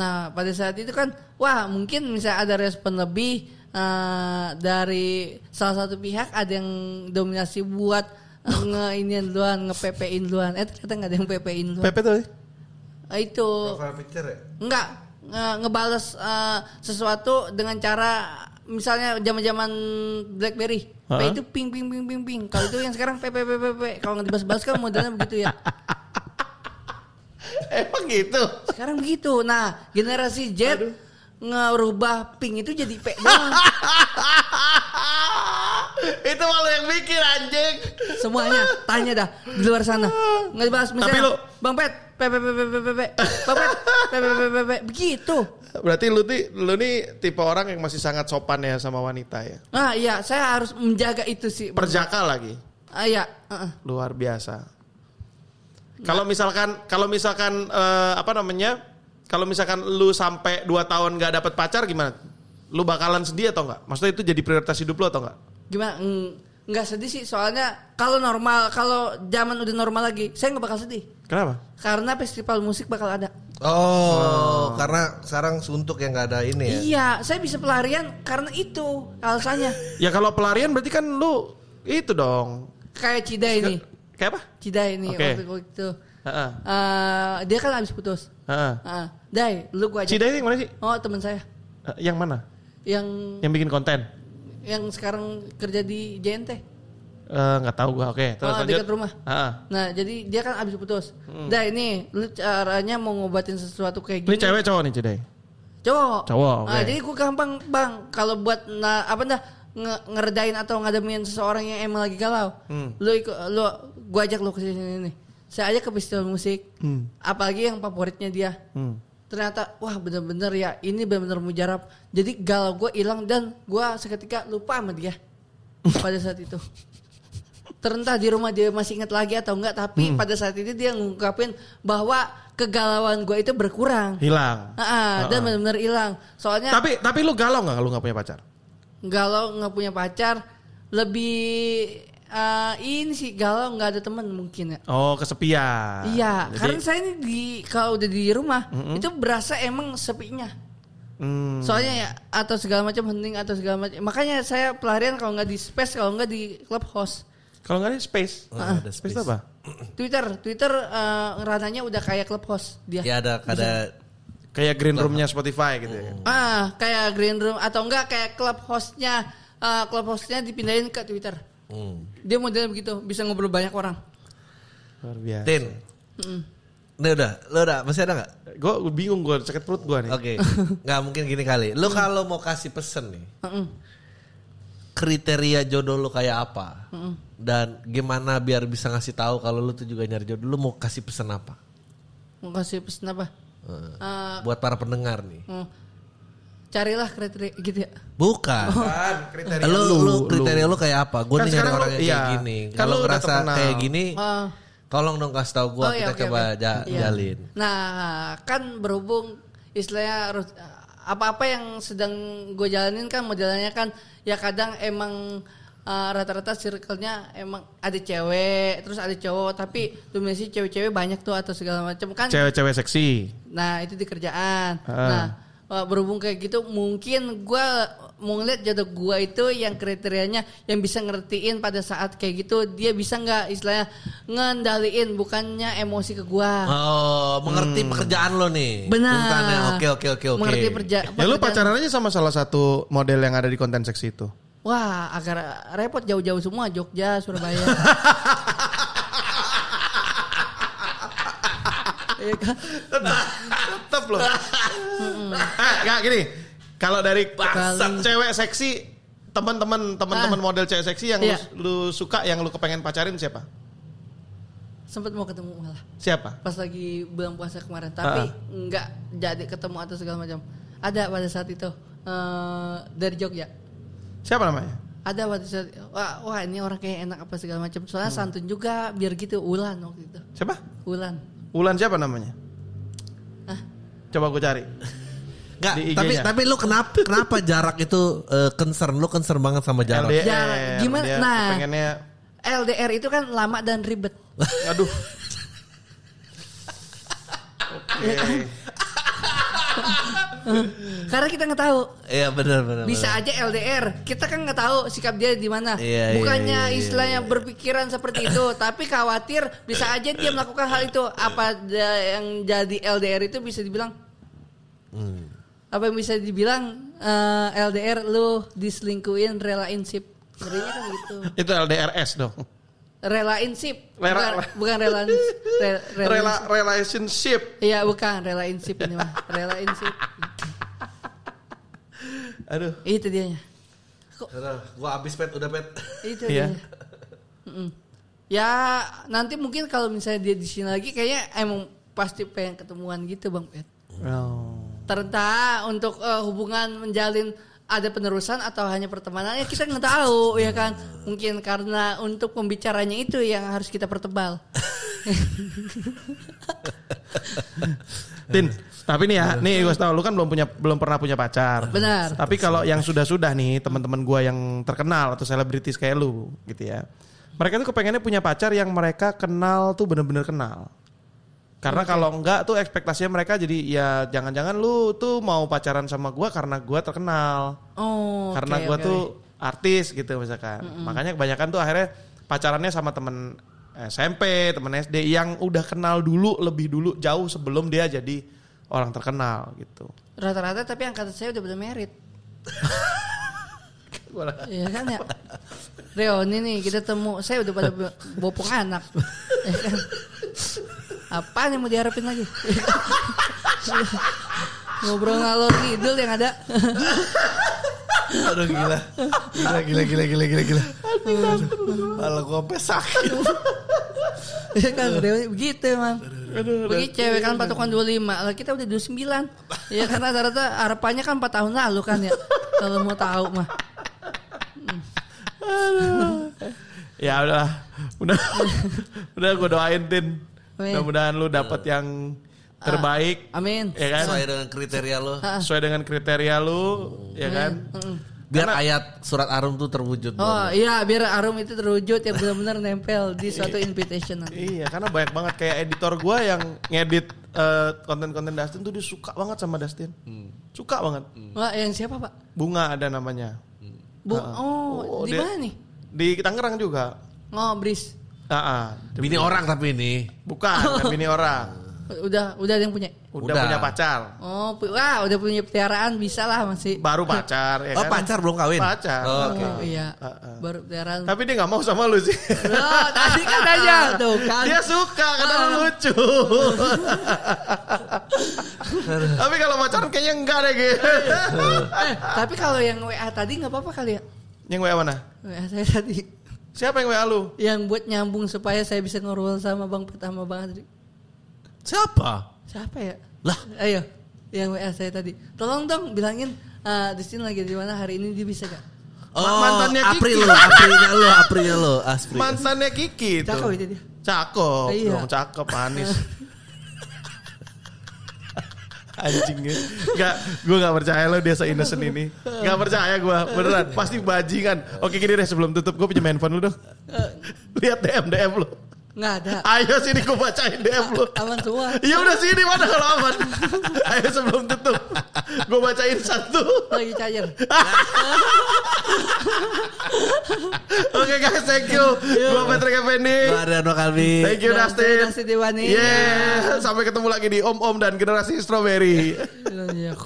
[SPEAKER 4] Nah pada saat itu kan wah mungkin misalnya ada respon lebih eh, dari salah satu pihak ada yang dominasi buat ngeinian duluan ngepepein duluan eh ternyata nggak ada yang pepein duluan
[SPEAKER 2] Pepe Nah. tuh.
[SPEAKER 4] Eh, itu
[SPEAKER 2] ya?
[SPEAKER 4] nggak nge- ngebales eh, sesuatu dengan cara misalnya zaman-zaman BlackBerry P
[SPEAKER 2] Heeh.
[SPEAKER 4] itu ping ping ping ping ping kalau itu yang sekarang pepepepepe kalau nggak dibahas-bahas kan modelnya begitu ya
[SPEAKER 2] Emang gitu.
[SPEAKER 4] Sekarang begitu. Nah, generasi Z ngerubah pink itu jadi P doang.
[SPEAKER 2] itu malu yang mikir anjing.
[SPEAKER 4] Semuanya tanya dah di luar sana. Nggak dibahas misalnya.
[SPEAKER 2] lu-
[SPEAKER 4] Bang Pet, P P P P P P P. Bang Pet, P P P P P begitu.
[SPEAKER 2] Berarti lu ti- lu nih tipe orang yang masih sangat sopan ya sama wanita ya.
[SPEAKER 4] Nah, iya, saya harus menjaga itu sih.
[SPEAKER 2] Perjaka lagi.
[SPEAKER 4] Ah, iya, heeh.
[SPEAKER 2] Luar biasa. Kalau misalkan kalau misalkan eh, apa namanya? Kalau misalkan lu sampai 2 tahun gak dapet pacar gimana? Lu bakalan sedih atau enggak? Maksudnya itu jadi prioritas hidup lu atau enggak?
[SPEAKER 4] Gimana? Mm, Nggak sedih sih soalnya kalau normal, kalau zaman udah normal lagi, saya nggak bakal sedih.
[SPEAKER 2] Kenapa?
[SPEAKER 4] Karena festival musik bakal ada.
[SPEAKER 3] Oh,
[SPEAKER 2] Hmm.
[SPEAKER 3] karena sekarang suntuk yang nggak ada ini ya.
[SPEAKER 4] Iya, saya bisa pelarian karena itu alasannya.
[SPEAKER 2] Ya kalau pelarian berarti kan lu itu dong.
[SPEAKER 4] Kayak Cida ini.
[SPEAKER 2] Kayak apa?
[SPEAKER 4] Cida ini
[SPEAKER 2] Oke.
[SPEAKER 4] waktu, waktu itu
[SPEAKER 2] Heeh.
[SPEAKER 4] Eh, dia kan habis putus.
[SPEAKER 2] Heeh.
[SPEAKER 4] Heeh. Dai, lu gua aja.
[SPEAKER 2] Cida ini yang mana sih?
[SPEAKER 4] Oh, teman saya.
[SPEAKER 2] Eh, Yang mana?
[SPEAKER 4] Yang
[SPEAKER 2] Yang bikin konten?
[SPEAKER 4] yang sekarang kerja di
[SPEAKER 2] Eh,
[SPEAKER 4] JNT.
[SPEAKER 2] Nggak tahu gua. Oke, terus
[SPEAKER 4] Oh,
[SPEAKER 2] lanjut.
[SPEAKER 4] dekat rumah.
[SPEAKER 2] Heeh.
[SPEAKER 4] Nah, jadi dia kan habis putus. Dai, ini lu caranya mau ngobatin sesuatu kayak
[SPEAKER 2] Ini
[SPEAKER 4] gini.
[SPEAKER 2] cewek cowok nih Cidai?
[SPEAKER 4] cowok
[SPEAKER 2] Cowok,
[SPEAKER 4] Nah,
[SPEAKER 2] oke.
[SPEAKER 4] jadi gue gampang bang kalau buat nah, apa dah nge- ngeredain atau ngademin seseorang yang emang lagi galau
[SPEAKER 2] Hmm.
[SPEAKER 4] lu ikut lu gue ajak lu ke sini nih saya ajak ke festival musik
[SPEAKER 2] Hmm.
[SPEAKER 4] apalagi yang favoritnya dia ternyata wah bener-bener ya ini bener-bener mujarab jadi galau gue hilang dan gue seketika lupa sama dia pada saat itu terentah di rumah dia masih ingat lagi atau enggak tapi pada saat itu dia ngungkapin bahwa kegalauan gue itu berkurang
[SPEAKER 2] Hilang.
[SPEAKER 4] Ah, dan benar-benar hilang. Soalnya
[SPEAKER 2] Iya. Tapi tapi lu galau nggak kalau lu nggak punya pacar?
[SPEAKER 4] galau nggak punya pacar lebih eh, ini sih galau nggak ada teman mungkin ya.
[SPEAKER 2] Oh kesepian.
[SPEAKER 4] Iya,
[SPEAKER 2] Jadi-
[SPEAKER 4] karena saya ini di kalau udah di rumah itu berasa emang sepinya.
[SPEAKER 2] Hmm.
[SPEAKER 4] Soalnya ya atau segala macam hening atau segala macam. Makanya saya pelarian kalau nggak di space kalau nggak di clubhouse.
[SPEAKER 2] Kalau nggak ada space. Ah,
[SPEAKER 3] Oh, ada
[SPEAKER 2] space.
[SPEAKER 3] space.
[SPEAKER 2] apa?
[SPEAKER 4] Twitter, Twitter eh, ranahnya udah kayak clubhouse dia.
[SPEAKER 3] Ya ada ada
[SPEAKER 2] Kayak green roomnya Spotify gitu ya.
[SPEAKER 4] Ah, kayak green room atau enggak kayak clubhouse-nya eh, clubhouse-nya dipindahin ke Twitter.
[SPEAKER 3] Hmm.
[SPEAKER 4] Dia modelnya begitu, bisa ngobrol banyak orang.
[SPEAKER 2] Luar biasa.
[SPEAKER 3] Tin. Ini udah, lo udah masih ada nggak?
[SPEAKER 2] Gue bingung gue sakit perut gue nih.
[SPEAKER 3] Oke, nggak mungkin gini kali. Lo
[SPEAKER 4] Hmm.
[SPEAKER 3] kalau mau kasih pesen nih,
[SPEAKER 4] Heeh.
[SPEAKER 3] kriteria jodoh lo kayak apa?
[SPEAKER 4] Hmm.
[SPEAKER 3] Dan gimana biar bisa ngasih tahu kalau lo tuh juga nyari jodoh? Lo mau kasih pesen apa?
[SPEAKER 4] Mau kasih pesan apa?
[SPEAKER 3] Eh,
[SPEAKER 4] Eh,
[SPEAKER 3] Buat para pendengar nih.
[SPEAKER 4] hmm. carilah kriteria gitu ya.
[SPEAKER 3] Bukan.
[SPEAKER 2] Kan kriteria
[SPEAKER 3] Lo, lo kriteria lo kayak apa? Gue
[SPEAKER 2] Kan
[SPEAKER 3] nih nyari
[SPEAKER 2] sekarang lo-
[SPEAKER 3] orang yang kayak
[SPEAKER 2] iya.
[SPEAKER 3] gini.
[SPEAKER 2] Kan
[SPEAKER 3] Kalau
[SPEAKER 2] lo udah
[SPEAKER 3] ngerasa
[SPEAKER 2] terkenal.
[SPEAKER 3] kayak gini,
[SPEAKER 4] Eh,
[SPEAKER 3] tolong dong kasih tahu gue.
[SPEAKER 4] oh, iya,
[SPEAKER 3] kita
[SPEAKER 4] oke,
[SPEAKER 3] coba
[SPEAKER 4] oke.
[SPEAKER 3] ja-
[SPEAKER 4] Iya.
[SPEAKER 3] jalin.
[SPEAKER 4] Nah, kan berhubung istilahnya harus- apa-apa yang sedang gue jalanin kan modelannya kan ya kadang emang eh, rata-rata circle-nya emang ada cewek, terus ada cowok, tapi dominasi cewek-cewek banyak tuh atau segala macam kan.
[SPEAKER 2] Cewek-cewek seksi.
[SPEAKER 4] Nah itu di kerjaan.
[SPEAKER 2] Ah.
[SPEAKER 4] Nah eh, berhubung kayak gitu mungkin gue mau ngeliat jodoh gue itu yang kriterianya yang bisa ngertiin pada saat kayak gitu dia bisa nggak istilahnya ngendaliin bukannya emosi ke gue.
[SPEAKER 3] Oh, mengerti pekerjaan lo nih.
[SPEAKER 4] Ah. Hmm. Benar.
[SPEAKER 3] Tuntannya. kan ya, Oke, oke, oke, oke.
[SPEAKER 4] Mengerti perja
[SPEAKER 2] Ya lu
[SPEAKER 4] pekerjaan.
[SPEAKER 2] pacaran aja sama salah satu model yang ada di konten seksi itu.
[SPEAKER 4] Wah agak repot jauh-jauh semua Jogja Surabaya. Iya kan?
[SPEAKER 2] Tetep loh. ah, gak gini. Kalau dari
[SPEAKER 4] Kali.
[SPEAKER 2] cewek seksi, teman-teman teman-teman
[SPEAKER 4] Ah.
[SPEAKER 2] model cewek seksi yang lu-
[SPEAKER 4] Iya.
[SPEAKER 2] lu, suka yang lu kepengen pacarin siapa?
[SPEAKER 4] Sempet mau ketemu malah.
[SPEAKER 2] Siapa?
[SPEAKER 4] pas lagi bulan puasa kemarin
[SPEAKER 3] Ah.
[SPEAKER 4] tapi nggak jadi ketemu atau segala macam ada pada saat itu eh, dari Jogja
[SPEAKER 2] Siapa namanya?
[SPEAKER 4] ada pada saat wah, wah ini orang kayak enak apa segala macam soalnya
[SPEAKER 3] Hmm.
[SPEAKER 4] santun juga biar gitu Ulan waktu itu
[SPEAKER 2] Siapa?
[SPEAKER 4] Ulan
[SPEAKER 2] Ulan siapa namanya? Coba gue cari.
[SPEAKER 3] Nggak,
[SPEAKER 2] Di IG-nya.
[SPEAKER 3] tapi tapi lu kenapa kenapa jarak itu eh, concern lu concern banget sama jarak?
[SPEAKER 2] LDR.
[SPEAKER 4] Jarak. Gimana?
[SPEAKER 2] Dia
[SPEAKER 4] Nah.
[SPEAKER 2] Pengennya,
[SPEAKER 4] LDR itu kan lama dan ribet
[SPEAKER 2] aduh. Oke.
[SPEAKER 4] Hmm. karena kita nggak tahu
[SPEAKER 3] Iya benar benar.
[SPEAKER 4] bisa aja LDR kita kan nggak tahu sikap dia di mana
[SPEAKER 3] Iya, iya,
[SPEAKER 4] bukannya
[SPEAKER 3] iya, iya,
[SPEAKER 4] istilahnya berpikiran seperti itu tapi khawatir bisa aja dia melakukan hal itu
[SPEAKER 3] Iya.
[SPEAKER 4] apa da- yang jadi LDR itu bisa dibilang
[SPEAKER 3] Hmm.
[SPEAKER 4] apa yang bisa dibilang eh, LDR lu diselingkuin relain sip Ngerinya kan gitu
[SPEAKER 2] Itu LDRS dong.
[SPEAKER 4] relain sip
[SPEAKER 2] Rela-
[SPEAKER 4] bukan, bukan relain re- relain
[SPEAKER 2] Rela,
[SPEAKER 4] sip.
[SPEAKER 2] relationship.
[SPEAKER 4] iya bukan relain sip ini mah relain sip
[SPEAKER 2] Aduh.
[SPEAKER 4] itu dianya
[SPEAKER 3] Gua abis pet udah pet.
[SPEAKER 4] itu
[SPEAKER 2] Iya.
[SPEAKER 4] dia. Mm-mm. ya nanti mungkin kalau misalnya dia di sini lagi kayaknya emang pasti pengen ketemuan gitu bang Pet
[SPEAKER 2] Oh.
[SPEAKER 4] terentah untuk eh, hubungan menjalin ada penerusan atau hanya pertemanan ya kita nggak tahu ya kan mungkin karena untuk pembicaranya itu yang harus kita pertebal
[SPEAKER 2] Tin, tapi nih ya,
[SPEAKER 3] Iya.
[SPEAKER 2] nih gue tau lu kan belum punya belum pernah punya pacar.
[SPEAKER 4] Benar.
[SPEAKER 2] Tapi kalau yang sudah-sudah nih teman-teman gua yang terkenal atau selebritis kayak lu gitu ya. Mereka tuh kepengennya punya pacar yang mereka kenal tuh bener-bener kenal. Karena kalau enggak tuh ekspektasinya mereka jadi ya jangan-jangan lu tuh mau pacaran sama gua karena gua terkenal.
[SPEAKER 4] oh
[SPEAKER 2] karena
[SPEAKER 4] oke,
[SPEAKER 2] gua
[SPEAKER 4] oke.
[SPEAKER 2] tuh artis gitu misalkan. Makanya kebanyakan tuh akhirnya pacarannya sama temen SMP, teman SD yang udah kenal dulu lebih dulu jauh sebelum dia jadi orang terkenal gitu.
[SPEAKER 4] Rata-rata tapi angkatan saya udah pada merit. Iya kan ya. Reoni nih kita temu, saya udah pada bopong anak. Ya kan? Apaan yang mau diharapin lagi? Ngobrol ngalor ngidul yang ada.
[SPEAKER 3] Aduh gila. Gila gila gila gila gila gila. Malah gua sampai sakit.
[SPEAKER 4] Ya kan Reoni begitu emang. Begitu cewek kan patokan 25, lah kita udah 29. Ya kan rata-rata harapannya kan 4 tahun lalu kan ya. Kalau mau tahu mah.
[SPEAKER 2] Ya udah, udah, udah gue doain tin.
[SPEAKER 4] Amin.
[SPEAKER 2] Mudah-mudahan lu dapat yang terbaik,
[SPEAKER 4] Amin.
[SPEAKER 2] ya kan?
[SPEAKER 3] Sesuai dengan kriteria lo.
[SPEAKER 2] Sesuai dengan kriteria lu, ya kan?
[SPEAKER 4] Mm-mm.
[SPEAKER 3] Biar ayat surat Arum tuh terwujud. Bang.
[SPEAKER 4] Oh iya biar arum itu terwujud yang benar-benar nempel di suatu invitation nanti.
[SPEAKER 2] Iya, karena banyak banget kayak editor gue yang ngedit eh, konten-konten Dustin tuh dia suka banget sama Dustin,
[SPEAKER 3] Hmm.
[SPEAKER 2] suka banget.
[SPEAKER 4] Wah yang siapa pak?
[SPEAKER 2] Bunga ada namanya
[SPEAKER 4] Bu, oh,
[SPEAKER 2] Ah.
[SPEAKER 4] di
[SPEAKER 2] dia-
[SPEAKER 4] mana nih?
[SPEAKER 2] di Tangerang juga.
[SPEAKER 4] Oh Bris,
[SPEAKER 2] Ah, ah.
[SPEAKER 3] Bini orang tapi ini.
[SPEAKER 2] bukan kan bini orang,
[SPEAKER 4] udah udah ada yang punya.
[SPEAKER 2] udah,
[SPEAKER 3] Udah.
[SPEAKER 2] punya pacar,
[SPEAKER 4] Oh, pu- wah udah punya peliharaan bisa lah masih.
[SPEAKER 2] baru pacar, ya
[SPEAKER 3] Oh
[SPEAKER 2] kan?
[SPEAKER 3] pacar belum kawin.
[SPEAKER 2] Pacar.
[SPEAKER 3] Oh,
[SPEAKER 4] Oh,
[SPEAKER 3] Oke.
[SPEAKER 4] iya,
[SPEAKER 2] Ah, ah.
[SPEAKER 4] baru peliharaan.
[SPEAKER 2] Tapi dia nggak mau sama lu sih.
[SPEAKER 4] Loh, tadi kan aja tuh kan.
[SPEAKER 2] Dia suka karena
[SPEAKER 3] Ah.
[SPEAKER 2] lu lucu. Tapi kalau pacaran kayaknya enggak deh gitu.
[SPEAKER 4] Eh, tapi kalau yang WA tadi nggak apa-apa kali ya?
[SPEAKER 2] yang WA mana?
[SPEAKER 4] WA saya tadi
[SPEAKER 2] Siapa yang WA lu?
[SPEAKER 4] yang buat nyambung supaya saya bisa ngobrol sama Bang Pet sama Bang Adri.
[SPEAKER 3] Siapa?
[SPEAKER 4] Siapa ya?
[SPEAKER 3] Lah.
[SPEAKER 4] Ayo, yang WA saya tadi. Tolong dong bilangin eh di sini lagi di mana hari ini dia bisa gak?
[SPEAKER 3] Oh,
[SPEAKER 2] mantannya Kiki.
[SPEAKER 3] April lo, Aprilnya lo, Aprilnya lo, Aspri.
[SPEAKER 2] Mantannya Kiki itu.
[SPEAKER 4] Cakep itu dia.
[SPEAKER 2] Cakep
[SPEAKER 4] Iya.
[SPEAKER 2] dong, cakep manis. Anjingnya Gak, gue gak percaya lo dia se-innocent ini Gak percaya gue, beneran Pasti bajingan Oke gini deh sebelum tutup Gue pinjam handphone lu dong
[SPEAKER 4] Eh.
[SPEAKER 2] Lihat DM-DM lu
[SPEAKER 4] Nggak ada.
[SPEAKER 2] Ayo sini gue bacain DM lu
[SPEAKER 4] Aman semua.
[SPEAKER 2] Ya udah sini mana kalau aman. Ayo sebelum tutup. Gue bacain satu.
[SPEAKER 4] Lagi cair.
[SPEAKER 2] Oke guys, thank you.
[SPEAKER 4] Iya.
[SPEAKER 2] Gue Patrick
[SPEAKER 3] Gue
[SPEAKER 2] Effendi.
[SPEAKER 3] Adriano Kalbi.
[SPEAKER 2] Thank you
[SPEAKER 4] Dan saya
[SPEAKER 2] Dustin.
[SPEAKER 4] Dustin Diwani.
[SPEAKER 2] Iya. Yeah, sampai ketemu lagi di Om Om dan Generasi Strawberry.
[SPEAKER 4] Iya.